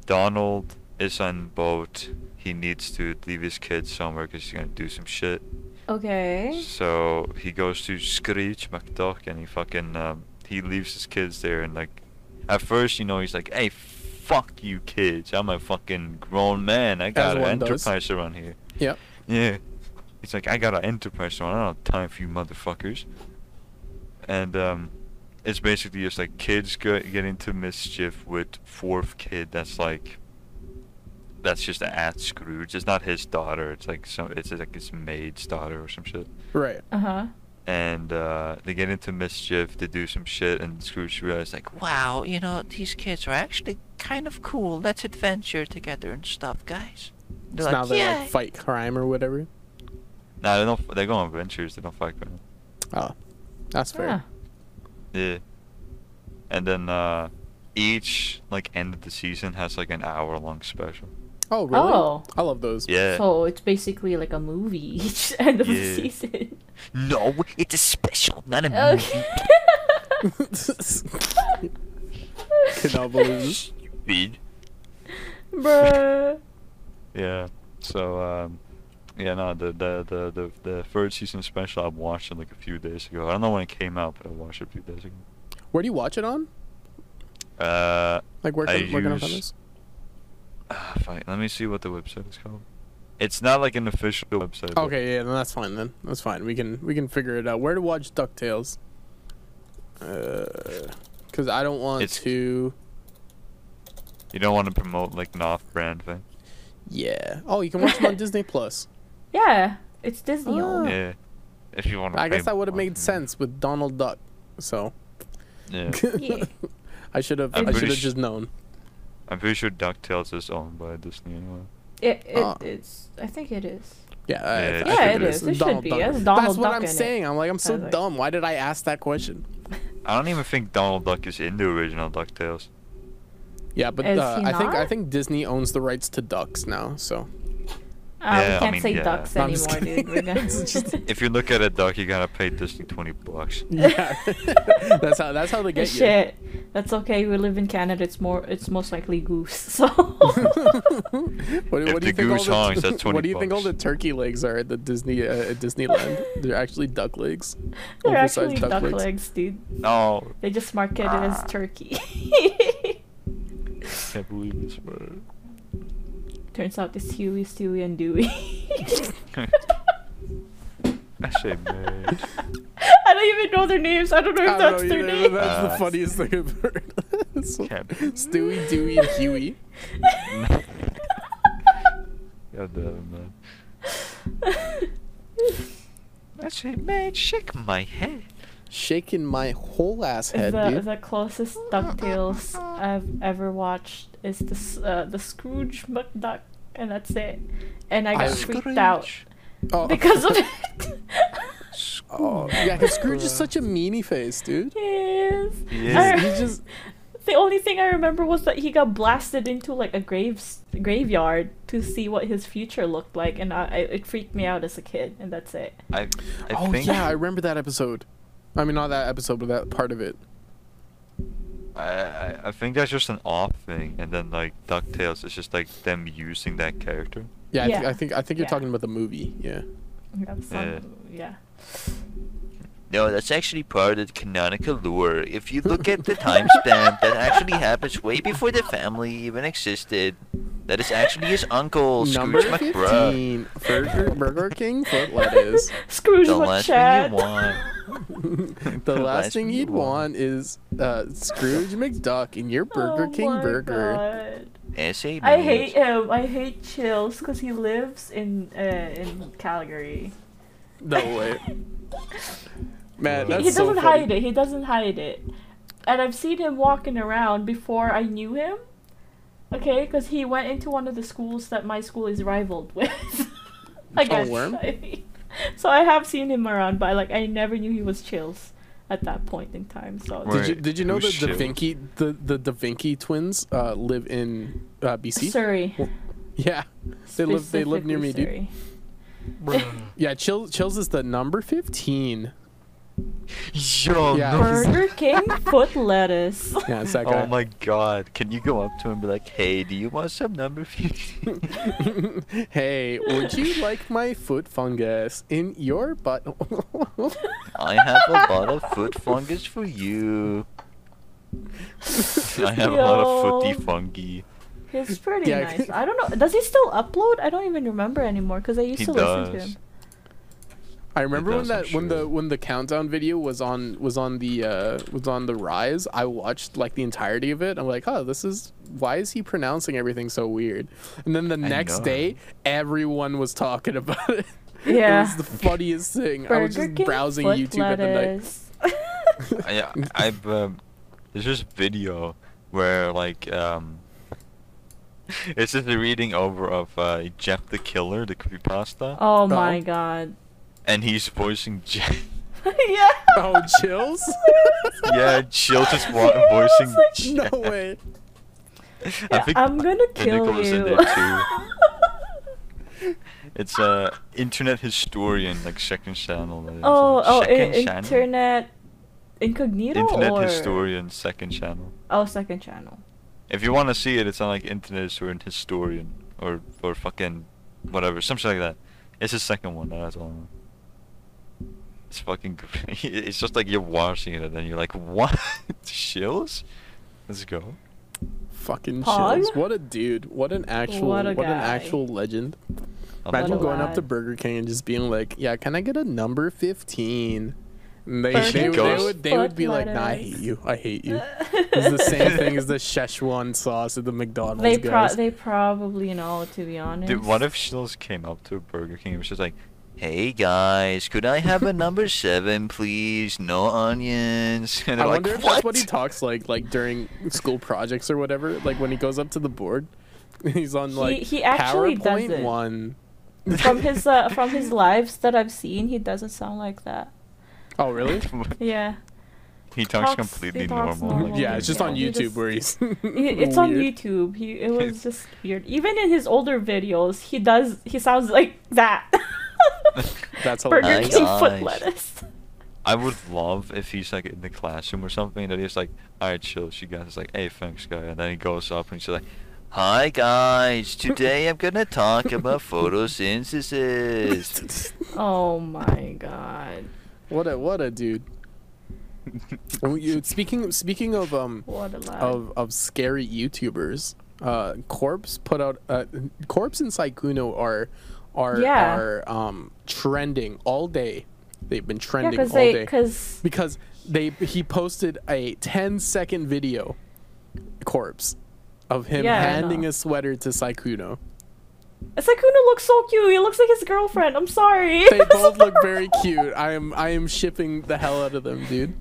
Speaker 1: Donald is on boat. He needs to leave his kids somewhere because he's gonna do some shit.
Speaker 3: Okay.
Speaker 1: So he goes to Screech McDuck and he fucking um, he leaves his kids there and like at first you know he's like hey fuck you kids I'm a fucking grown man I got an
Speaker 2: one does.
Speaker 1: enterprise around here
Speaker 2: yeah.
Speaker 1: yeah he's like I got an enterprise around I don't have time for you motherfuckers and um it's basically just like kids go, get into mischief with fourth kid that's like that's just at Scrooge it's not his daughter it's like some it's like his maid's daughter or some shit
Speaker 2: Right.
Speaker 3: Uh huh.
Speaker 1: and uh, they get into mischief. They do some shit, and Scrooge realizes like,
Speaker 4: Wow, you know, these kids are actually kind of cool. Let's adventure together and stuff, guys.
Speaker 2: It's
Speaker 4: They're
Speaker 2: now
Speaker 4: like,
Speaker 2: they
Speaker 4: yeah.
Speaker 2: like fight crime or whatever.
Speaker 1: nah, they don't. They go on adventures. They don't fight crime.
Speaker 2: Oh, that's fair.
Speaker 3: Ah.
Speaker 1: Yeah. And then uh, each like end of the season has like an hour long special.
Speaker 2: Oh, really?
Speaker 3: Oh.
Speaker 2: I love those.
Speaker 1: Yeah.
Speaker 3: So it's basically like a movie each end of the
Speaker 1: Yeah.
Speaker 3: season.
Speaker 4: No, it's a special,
Speaker 1: Oh,
Speaker 4: not a
Speaker 3: Okay.
Speaker 2: Cannot believe it.
Speaker 1: Big.
Speaker 3: Bruh.
Speaker 1: Yeah. So um, yeah, no, the the the the, the third season special I watched it like a few days ago. I don't know when it came out, but I watched it a few days ago.
Speaker 2: Where do you watch it on?
Speaker 1: Uh.
Speaker 2: Like where
Speaker 1: I
Speaker 2: can, where can I find
Speaker 1: use-
Speaker 2: this?
Speaker 1: Ah, fine. Let me see what the website is called. It's not like an official website. but-
Speaker 2: Okay, yeah, then that's fine then. That's fine. We can we can figure it out. Where to watch DuckTales? Because I don't want
Speaker 1: It's-
Speaker 2: to.
Speaker 1: You don't want to promote like an off-brand thing.
Speaker 2: Yeah. Oh, you can watch it on Disney Plus.
Speaker 3: Yeah, it's Disney.
Speaker 2: Ah.
Speaker 3: owned.
Speaker 1: Yeah. If you want to.
Speaker 2: I guess that would have made sense with Donald Duck. So
Speaker 1: Yeah.
Speaker 3: Yeah.
Speaker 2: I should have.
Speaker 1: I'm
Speaker 2: I
Speaker 1: pretty
Speaker 2: should have
Speaker 1: sh-
Speaker 2: just known.
Speaker 1: I'm pretty sure DuckTales is owned by Disney anyway.
Speaker 3: It, it,
Speaker 2: Ah.
Speaker 3: It's. I think it is.
Speaker 2: Yeah. I-
Speaker 1: Yeah,
Speaker 2: I,
Speaker 1: it
Speaker 2: I
Speaker 1: should
Speaker 2: think
Speaker 1: be.
Speaker 2: is.
Speaker 1: It
Speaker 3: should be. It has
Speaker 2: That's
Speaker 3: Donald
Speaker 2: what
Speaker 3: Duck
Speaker 2: I'm
Speaker 3: in it.
Speaker 2: saying. I'm like, I'm so
Speaker 3: was like-
Speaker 2: dumb. Why did I ask that question?
Speaker 1: I don't even think Donald Duck is in the original DuckTales.
Speaker 2: Yeah, but
Speaker 3: Is
Speaker 2: uh,
Speaker 3: he
Speaker 2: I think I
Speaker 3: not?
Speaker 2: think Disney owns the rights to ducks now. So
Speaker 3: Uh,
Speaker 1: Yeah, I
Speaker 3: we can't
Speaker 1: mean,
Speaker 3: say
Speaker 1: yeah.
Speaker 3: ducks
Speaker 2: I'm just
Speaker 3: anymore, dude.
Speaker 2: kidding.
Speaker 3: We're gonna...
Speaker 2: It's just-
Speaker 1: If you look at a duck, you gotta pay Disney twenty bucks.
Speaker 2: yeah, that's how that's how they get you.
Speaker 3: Shit, that's okay. We live in Canada. It's more. It's most likely goose. So.
Speaker 2: What,
Speaker 1: If
Speaker 2: what do
Speaker 1: the
Speaker 2: you think all
Speaker 1: goose
Speaker 2: the,
Speaker 1: honks, that's
Speaker 2: What do you think all the
Speaker 1: 20
Speaker 2: turkey legs are at the Disney uh, at Disneyland? They're actually duck legs.
Speaker 3: They're
Speaker 2: Oversized
Speaker 3: actually
Speaker 2: duck
Speaker 3: duck
Speaker 2: legs.
Speaker 3: legs. dude.
Speaker 1: No,
Speaker 3: They just market it as turkey.
Speaker 1: can't believe this, bro.
Speaker 3: Turns out it's Huey, Stewie, and Dewey.
Speaker 1: I say, man.
Speaker 3: I don't even know their names. I don't know if
Speaker 2: I don't
Speaker 3: that's
Speaker 2: know,
Speaker 3: their
Speaker 2: you know,
Speaker 3: name.
Speaker 2: That's the
Speaker 1: Uh,
Speaker 2: funniest thing I've heard. So,
Speaker 1: Can't be.
Speaker 2: Stewie, Dewey, and Huey.
Speaker 1: God damn it, man. I say, man, shake my head.
Speaker 2: Shaking my whole ass head,
Speaker 3: the,
Speaker 2: dude.
Speaker 3: the closest DuckTales I've ever watched is the s- uh, the Scrooge McDuck, and that's it. And I got
Speaker 2: I-
Speaker 3: freaked out
Speaker 1: Screech.
Speaker 2: oh,
Speaker 3: because of it.
Speaker 2: oh, yeah, 'cause Scrooge is such a meanie face, dude.
Speaker 3: yes.
Speaker 1: He
Speaker 3: I-
Speaker 1: is.
Speaker 2: He just
Speaker 3: The only thing I remember was that he got blasted into like a graves graveyard to see what his future looked like, and I, I it freaked me out as a kid, and that's it.
Speaker 1: I, I
Speaker 2: Oh
Speaker 1: think
Speaker 2: yeah, I remember that episode. I mean, not that episode, but that part of it.
Speaker 1: I, I, I think that's just an off thing, and then like Ducktales is just like them using that character.
Speaker 2: Yeah, I,
Speaker 3: Yeah.
Speaker 2: Th- I think I think you're
Speaker 3: Yeah.
Speaker 2: talking about the movie. Yeah.
Speaker 3: That's
Speaker 1: Yeah.
Speaker 3: yeah. yeah.
Speaker 4: No, that's actually part of the canonical lore. If you look at the timestamp, that actually happens way before the family even existed. That is actually his uncle,
Speaker 2: Number
Speaker 4: Scrooge McGruff.
Speaker 2: 15, Burger, Burger King foot lettuce.
Speaker 3: Scrooge
Speaker 4: The
Speaker 3: with
Speaker 4: last thing
Speaker 3: Chad.
Speaker 4: you want.
Speaker 2: the, last thing you'd want is uh, Scrooge McDuck in your Burger
Speaker 3: Oh
Speaker 2: King
Speaker 3: my
Speaker 2: burger.
Speaker 3: God.
Speaker 4: Is a
Speaker 3: I
Speaker 4: meat.
Speaker 3: hate him. I hate Chills because he lives in uh, in Calgary.
Speaker 2: No way. Man, that's
Speaker 3: he
Speaker 2: so
Speaker 3: doesn't
Speaker 2: funny.
Speaker 3: hide it. He doesn't hide it. And I've seen him walking around before I knew him. Okay, because he went into one of the schools that my school is rivaled with. I guess.
Speaker 2: worm?
Speaker 3: I mean, so I have seen him around, but like I never knew he was Chills at that point in time. So
Speaker 1: Where-
Speaker 2: Did you
Speaker 1: Right.
Speaker 2: did you know
Speaker 1: Who's
Speaker 2: that the Da
Speaker 1: shit?
Speaker 2: Vinci the the Da Vinci twins uh, live in uh, BC?
Speaker 3: Surrey.
Speaker 2: Yeah, they live they live near me, dude.
Speaker 3: specifically
Speaker 2: Yeah, Chills Chills is the number fifteen.
Speaker 1: Yo,
Speaker 2: Yeah.
Speaker 1: no.
Speaker 2: He's-
Speaker 3: Surrey. Burger King foot lettuce.
Speaker 2: Yeah, it's that guy.
Speaker 1: Oh my god. Can you go up to him and be like, hey, do you want some number 15?
Speaker 2: hey, would you like my foot fungus in your butt?
Speaker 4: I have a lot of foot fungus for you.
Speaker 1: I have a lot of
Speaker 3: Yo.
Speaker 1: footy fungi.
Speaker 3: He's pretty
Speaker 2: Yeah.
Speaker 3: nice. I don't know. Does he still upload? I don't even remember anymore because I used
Speaker 1: He
Speaker 3: to listen to
Speaker 1: does.
Speaker 3: him.
Speaker 2: I remember when
Speaker 1: does,
Speaker 2: that
Speaker 1: I'm
Speaker 2: when the
Speaker 1: sure.
Speaker 2: when the countdown video was on was on the uh, was on the rise. I watched like the entirety of it. I'm like, oh, this is why is he pronouncing everything so weird? And then the next
Speaker 1: know.
Speaker 2: day, everyone was talking about it. it
Speaker 3: Yeah.
Speaker 2: was the funniest thing. I was just browsing YouTube at the night.
Speaker 3: at the night.
Speaker 1: I, I've um, there's this video where like um, it's just a reading over of uh, Jeff the Killer, the creepypasta,
Speaker 3: oh my god.
Speaker 1: and he's voicing Jeff.
Speaker 3: yeah.
Speaker 2: Oh, chills!
Speaker 1: yeah, Chill just wa-
Speaker 3: Yeah, I was
Speaker 1: voicing.
Speaker 3: like,
Speaker 1: Jeff.
Speaker 2: no way.
Speaker 1: I think
Speaker 3: I'm gonna
Speaker 1: the
Speaker 3: kill
Speaker 1: Nicholas in
Speaker 3: you.
Speaker 1: there It's a internet historian, like second channel. that is,
Speaker 3: oh,
Speaker 1: uh,
Speaker 3: oh, i-
Speaker 1: second channel?
Speaker 3: internet incognito
Speaker 1: Internet
Speaker 3: or
Speaker 1: historian, second channel.
Speaker 3: Oh, second channel.
Speaker 1: If you want to see it, it's on like Internet Historian, Historian, or or fucking whatever, something like that. It's the second one. That's all. I know. It's fucking. great. It's just like you're watching it and then you're like, what? Shills? Let's go.
Speaker 2: Fucking
Speaker 3: Pog?
Speaker 2: chills! What a dude! What an actual
Speaker 3: What
Speaker 2: what,
Speaker 3: a
Speaker 2: an
Speaker 3: guy.
Speaker 2: actual legend!
Speaker 1: I'll
Speaker 2: Imagine
Speaker 1: blow
Speaker 3: What a
Speaker 2: going
Speaker 1: it.
Speaker 2: up to Burger King and just being like, "Yeah, can I get a number 15? And they,
Speaker 3: Burger
Speaker 2: they, would- they
Speaker 1: King
Speaker 2: would they would be
Speaker 3: foot
Speaker 2: like, "Nah, I
Speaker 3: lettuce.
Speaker 2: hate you. I hate you." It's the same thing as the Szechuan sauce at the McDonald's
Speaker 3: They pro-
Speaker 2: guys.
Speaker 3: they probably know to be honest.
Speaker 1: Dude, what if Shills came up to Burger King and was just like,
Speaker 4: Hey guys, could I have a number seven, please? No onions.
Speaker 1: and
Speaker 2: I
Speaker 1: they're like,
Speaker 2: wonder if
Speaker 1: what?
Speaker 2: that's what he talks like like during school projects or whatever. Like when he goes up to the board, he's on like
Speaker 3: he actually does
Speaker 2: PowerPoint
Speaker 3: it.
Speaker 2: one.
Speaker 3: from his uh, from his lives that I've seen, he doesn't sound like that.
Speaker 2: Oh really?
Speaker 3: Yeah,
Speaker 1: he talks
Speaker 3: Talks-
Speaker 1: completely
Speaker 3: he talks
Speaker 1: normal.
Speaker 3: normal.
Speaker 1: Like,
Speaker 2: Yeah, it's just
Speaker 3: Yeah,
Speaker 2: on
Speaker 3: he
Speaker 2: YouTube
Speaker 3: just-
Speaker 2: where he's.
Speaker 3: It- it's on
Speaker 2: weird.
Speaker 3: YouTube. He it was just weird. Even in his older videos, he does he sounds like that.
Speaker 2: That's
Speaker 3: Burger
Speaker 2: hilarious.
Speaker 3: King foot
Speaker 4: Nice.
Speaker 3: lettuce.
Speaker 1: I would love if he's like in the classroom or something, and then he's like, "Alright, chill." She guys is like, "Hey, thanks, guy," and then he goes up and she's like,
Speaker 4: Hi guys, today I'm gonna talk about photosynthesis.
Speaker 3: Oh my god!
Speaker 2: What a what a dude. Oh, you- speaking speaking of um
Speaker 3: What a lie.
Speaker 2: of of scary YouTubers, uh, Corpse put out uh, Corpse and Saikuno are are
Speaker 3: Yeah.
Speaker 2: are um trending all day. They've been
Speaker 3: yeah,
Speaker 2: trending
Speaker 3: because
Speaker 2: all
Speaker 3: they
Speaker 2: day
Speaker 3: because
Speaker 2: because they he posted a 10 second video, Corpse, of him
Speaker 3: Yeah, I
Speaker 2: handing
Speaker 3: know.
Speaker 2: a sweater to Saikuno.
Speaker 3: Sakuno looks so cute. He looks like his girlfriend. I'm sorry.
Speaker 2: They both look very cute. I am I am shipping the hell out of them, dude.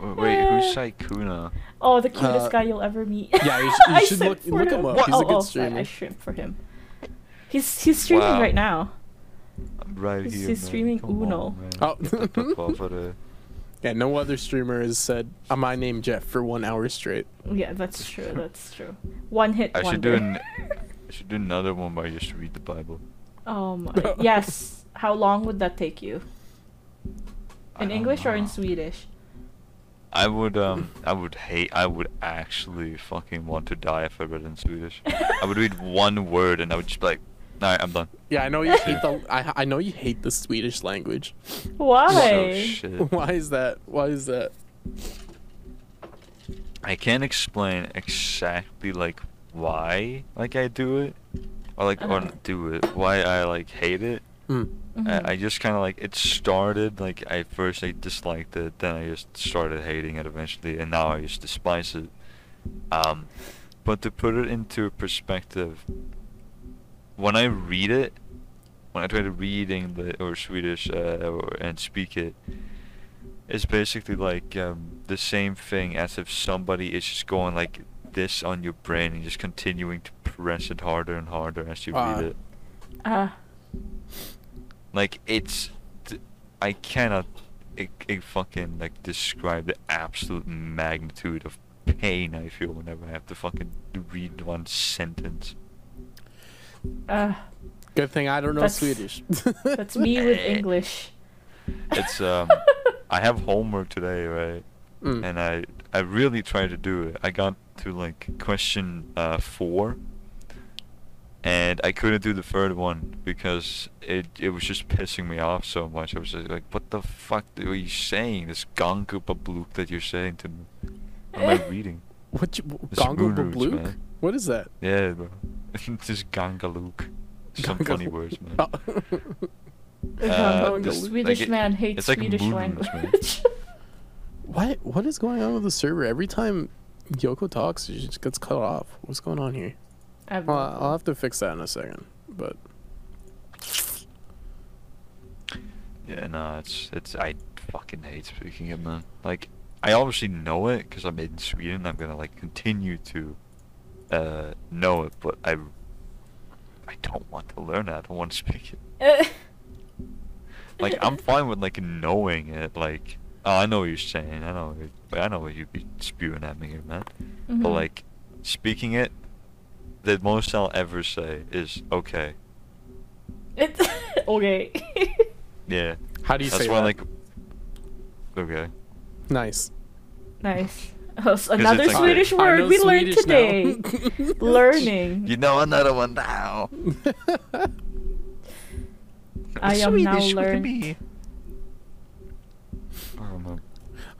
Speaker 1: "W- "Wait, who's Saikuna?"
Speaker 3: Oh, the cutest
Speaker 2: Uh,
Speaker 3: guy you'll ever meet.
Speaker 2: yeah, you should- you
Speaker 3: I
Speaker 2: should
Speaker 3: simp
Speaker 2: look-
Speaker 3: for
Speaker 2: look him up.
Speaker 3: What?
Speaker 2: He's a
Speaker 3: oh, oh,
Speaker 2: good
Speaker 3: I, I
Speaker 2: streamer.
Speaker 3: shrimp for him. He's he's streaming
Speaker 1: Wow.
Speaker 3: right now.
Speaker 1: I'm right
Speaker 3: He's-
Speaker 1: here.
Speaker 3: he's
Speaker 1: man.
Speaker 3: streaming
Speaker 1: Come on,
Speaker 3: Uno.
Speaker 1: man.
Speaker 2: Oh.
Speaker 1: Get the fuck out of-
Speaker 2: Yeah, no other streamer has said uh, my name Jeff for one hour straight.
Speaker 3: Yeah, that's true. That's true. One hit
Speaker 1: I should
Speaker 3: wonder.
Speaker 1: do an. I should do another one where I just read the Bible.
Speaker 3: Oh my. yes. How long would that take you?
Speaker 1: I
Speaker 3: In
Speaker 1: don't
Speaker 3: English or in
Speaker 1: know.
Speaker 3: Swedish?
Speaker 1: I would um. I would hate. I would actually fucking want to die if I read in Swedish. I would read one word and I would just be like, All right, I'm done.
Speaker 2: Yeah, I know you hate the I, I know you hate the Swedish language.
Speaker 1: So
Speaker 3: Why?
Speaker 1: shit.
Speaker 2: Why is that? Why is that?
Speaker 1: I can't explain exactly like why like I do it or like or
Speaker 3: Uh-huh.
Speaker 1: not do it. Why I like hate it.
Speaker 2: Mm.
Speaker 3: Mm-hmm.
Speaker 1: I, I just kind of like it started like I first I disliked it, then I just started hating it eventually, and now I just despise it. Um, but to put it into perspective, when I read it, when I try to read English or Swedish uh, or, and speak it, it's basically like um, the same thing as if somebody is just going like this on your brain and just continuing to press it harder and harder as you
Speaker 2: Ah.
Speaker 1: read it.
Speaker 3: Uh,
Speaker 1: Like it's, th- I cannot, I, I fucking like describe the absolute magnitude of pain I feel whenever I have to fucking read one sentence.
Speaker 3: uh,
Speaker 2: Good thing I don't know
Speaker 3: That's-
Speaker 2: Swedish.
Speaker 3: that's me with English.
Speaker 1: It's um, I have homework today, right?
Speaker 2: Mm.
Speaker 1: And I I really tried to do it. I got to like question uh four, and I couldn't do the third one because it it was just pissing me off so much. I was just like, what the fuck are you saying? This gangu babluk that you're saying to me. What am I reading?
Speaker 2: What you,
Speaker 1: It's
Speaker 2: Gongo
Speaker 1: Moon Roots,
Speaker 2: Babluk?
Speaker 1: man.
Speaker 2: What is that?
Speaker 1: Yeah, bro. just gangaluk. Some funny words, man.
Speaker 2: Oh.
Speaker 1: Uh,
Speaker 2: this-
Speaker 1: like
Speaker 3: Swedish
Speaker 1: it-
Speaker 3: man hates
Speaker 1: it's like
Speaker 3: Swedish
Speaker 1: moon roots, man.
Speaker 3: language.
Speaker 2: what what is going on with the server? Every time Yoko talks, she just gets cut off. What's going on here?
Speaker 3: I've-
Speaker 2: Well, I'll have to fix that in a second. But
Speaker 1: Yeah, no, it's it's I fucking hate speaking it, man. Like I obviously know it because I'm in Sweden. I'm gonna like continue to uh know it, but I I don't want to learn it. I don't want to speak it. Like I'm fine with like knowing it. Like oh, I know what you're saying. I know what I know what you'd be spewing at me, here, man. But
Speaker 3: Mhm.
Speaker 1: like speaking it, the most I'll ever say is okay.
Speaker 3: It's okay.
Speaker 1: Yeah.
Speaker 2: how do you
Speaker 1: That's
Speaker 2: say
Speaker 1: why
Speaker 2: that?
Speaker 1: like okay.
Speaker 2: nice.
Speaker 3: nice. Oh, s-
Speaker 1: it's
Speaker 3: another
Speaker 1: like-
Speaker 3: Swedish
Speaker 1: I
Speaker 3: word we learned today.
Speaker 2: today.
Speaker 3: Learning.
Speaker 1: You know another one now.
Speaker 3: I am now learn-
Speaker 1: Um,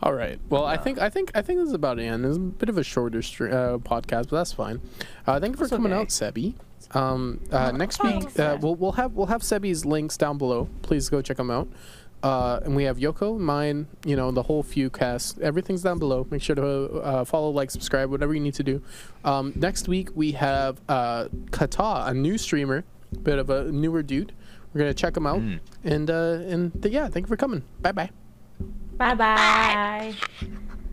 Speaker 2: All right. Well, I think I think I think this is about it. And it's a bit of a shorter stre- uh, podcast, but that's fine. Uh, thank you for
Speaker 3: That's
Speaker 2: coming
Speaker 3: okay. Oh,
Speaker 2: out, Sebi. Um, uh, next week
Speaker 3: thanks,
Speaker 2: uh,
Speaker 3: Seb.
Speaker 2: we'll we'll have we'll have Sebi's links down below. Please go check them out. Uh, and we have Yoko, mine, you know, the whole few cast. Everything's down below. Make sure to uh, follow, like, subscribe, whatever you need to do. Um, next week we have uh, Kata, a new streamer, bit of a newer dude. We're gonna check him out.
Speaker 1: Mm.
Speaker 2: And uh, and th- yeah, thank you for coming. Bye bye.
Speaker 3: Bye bye.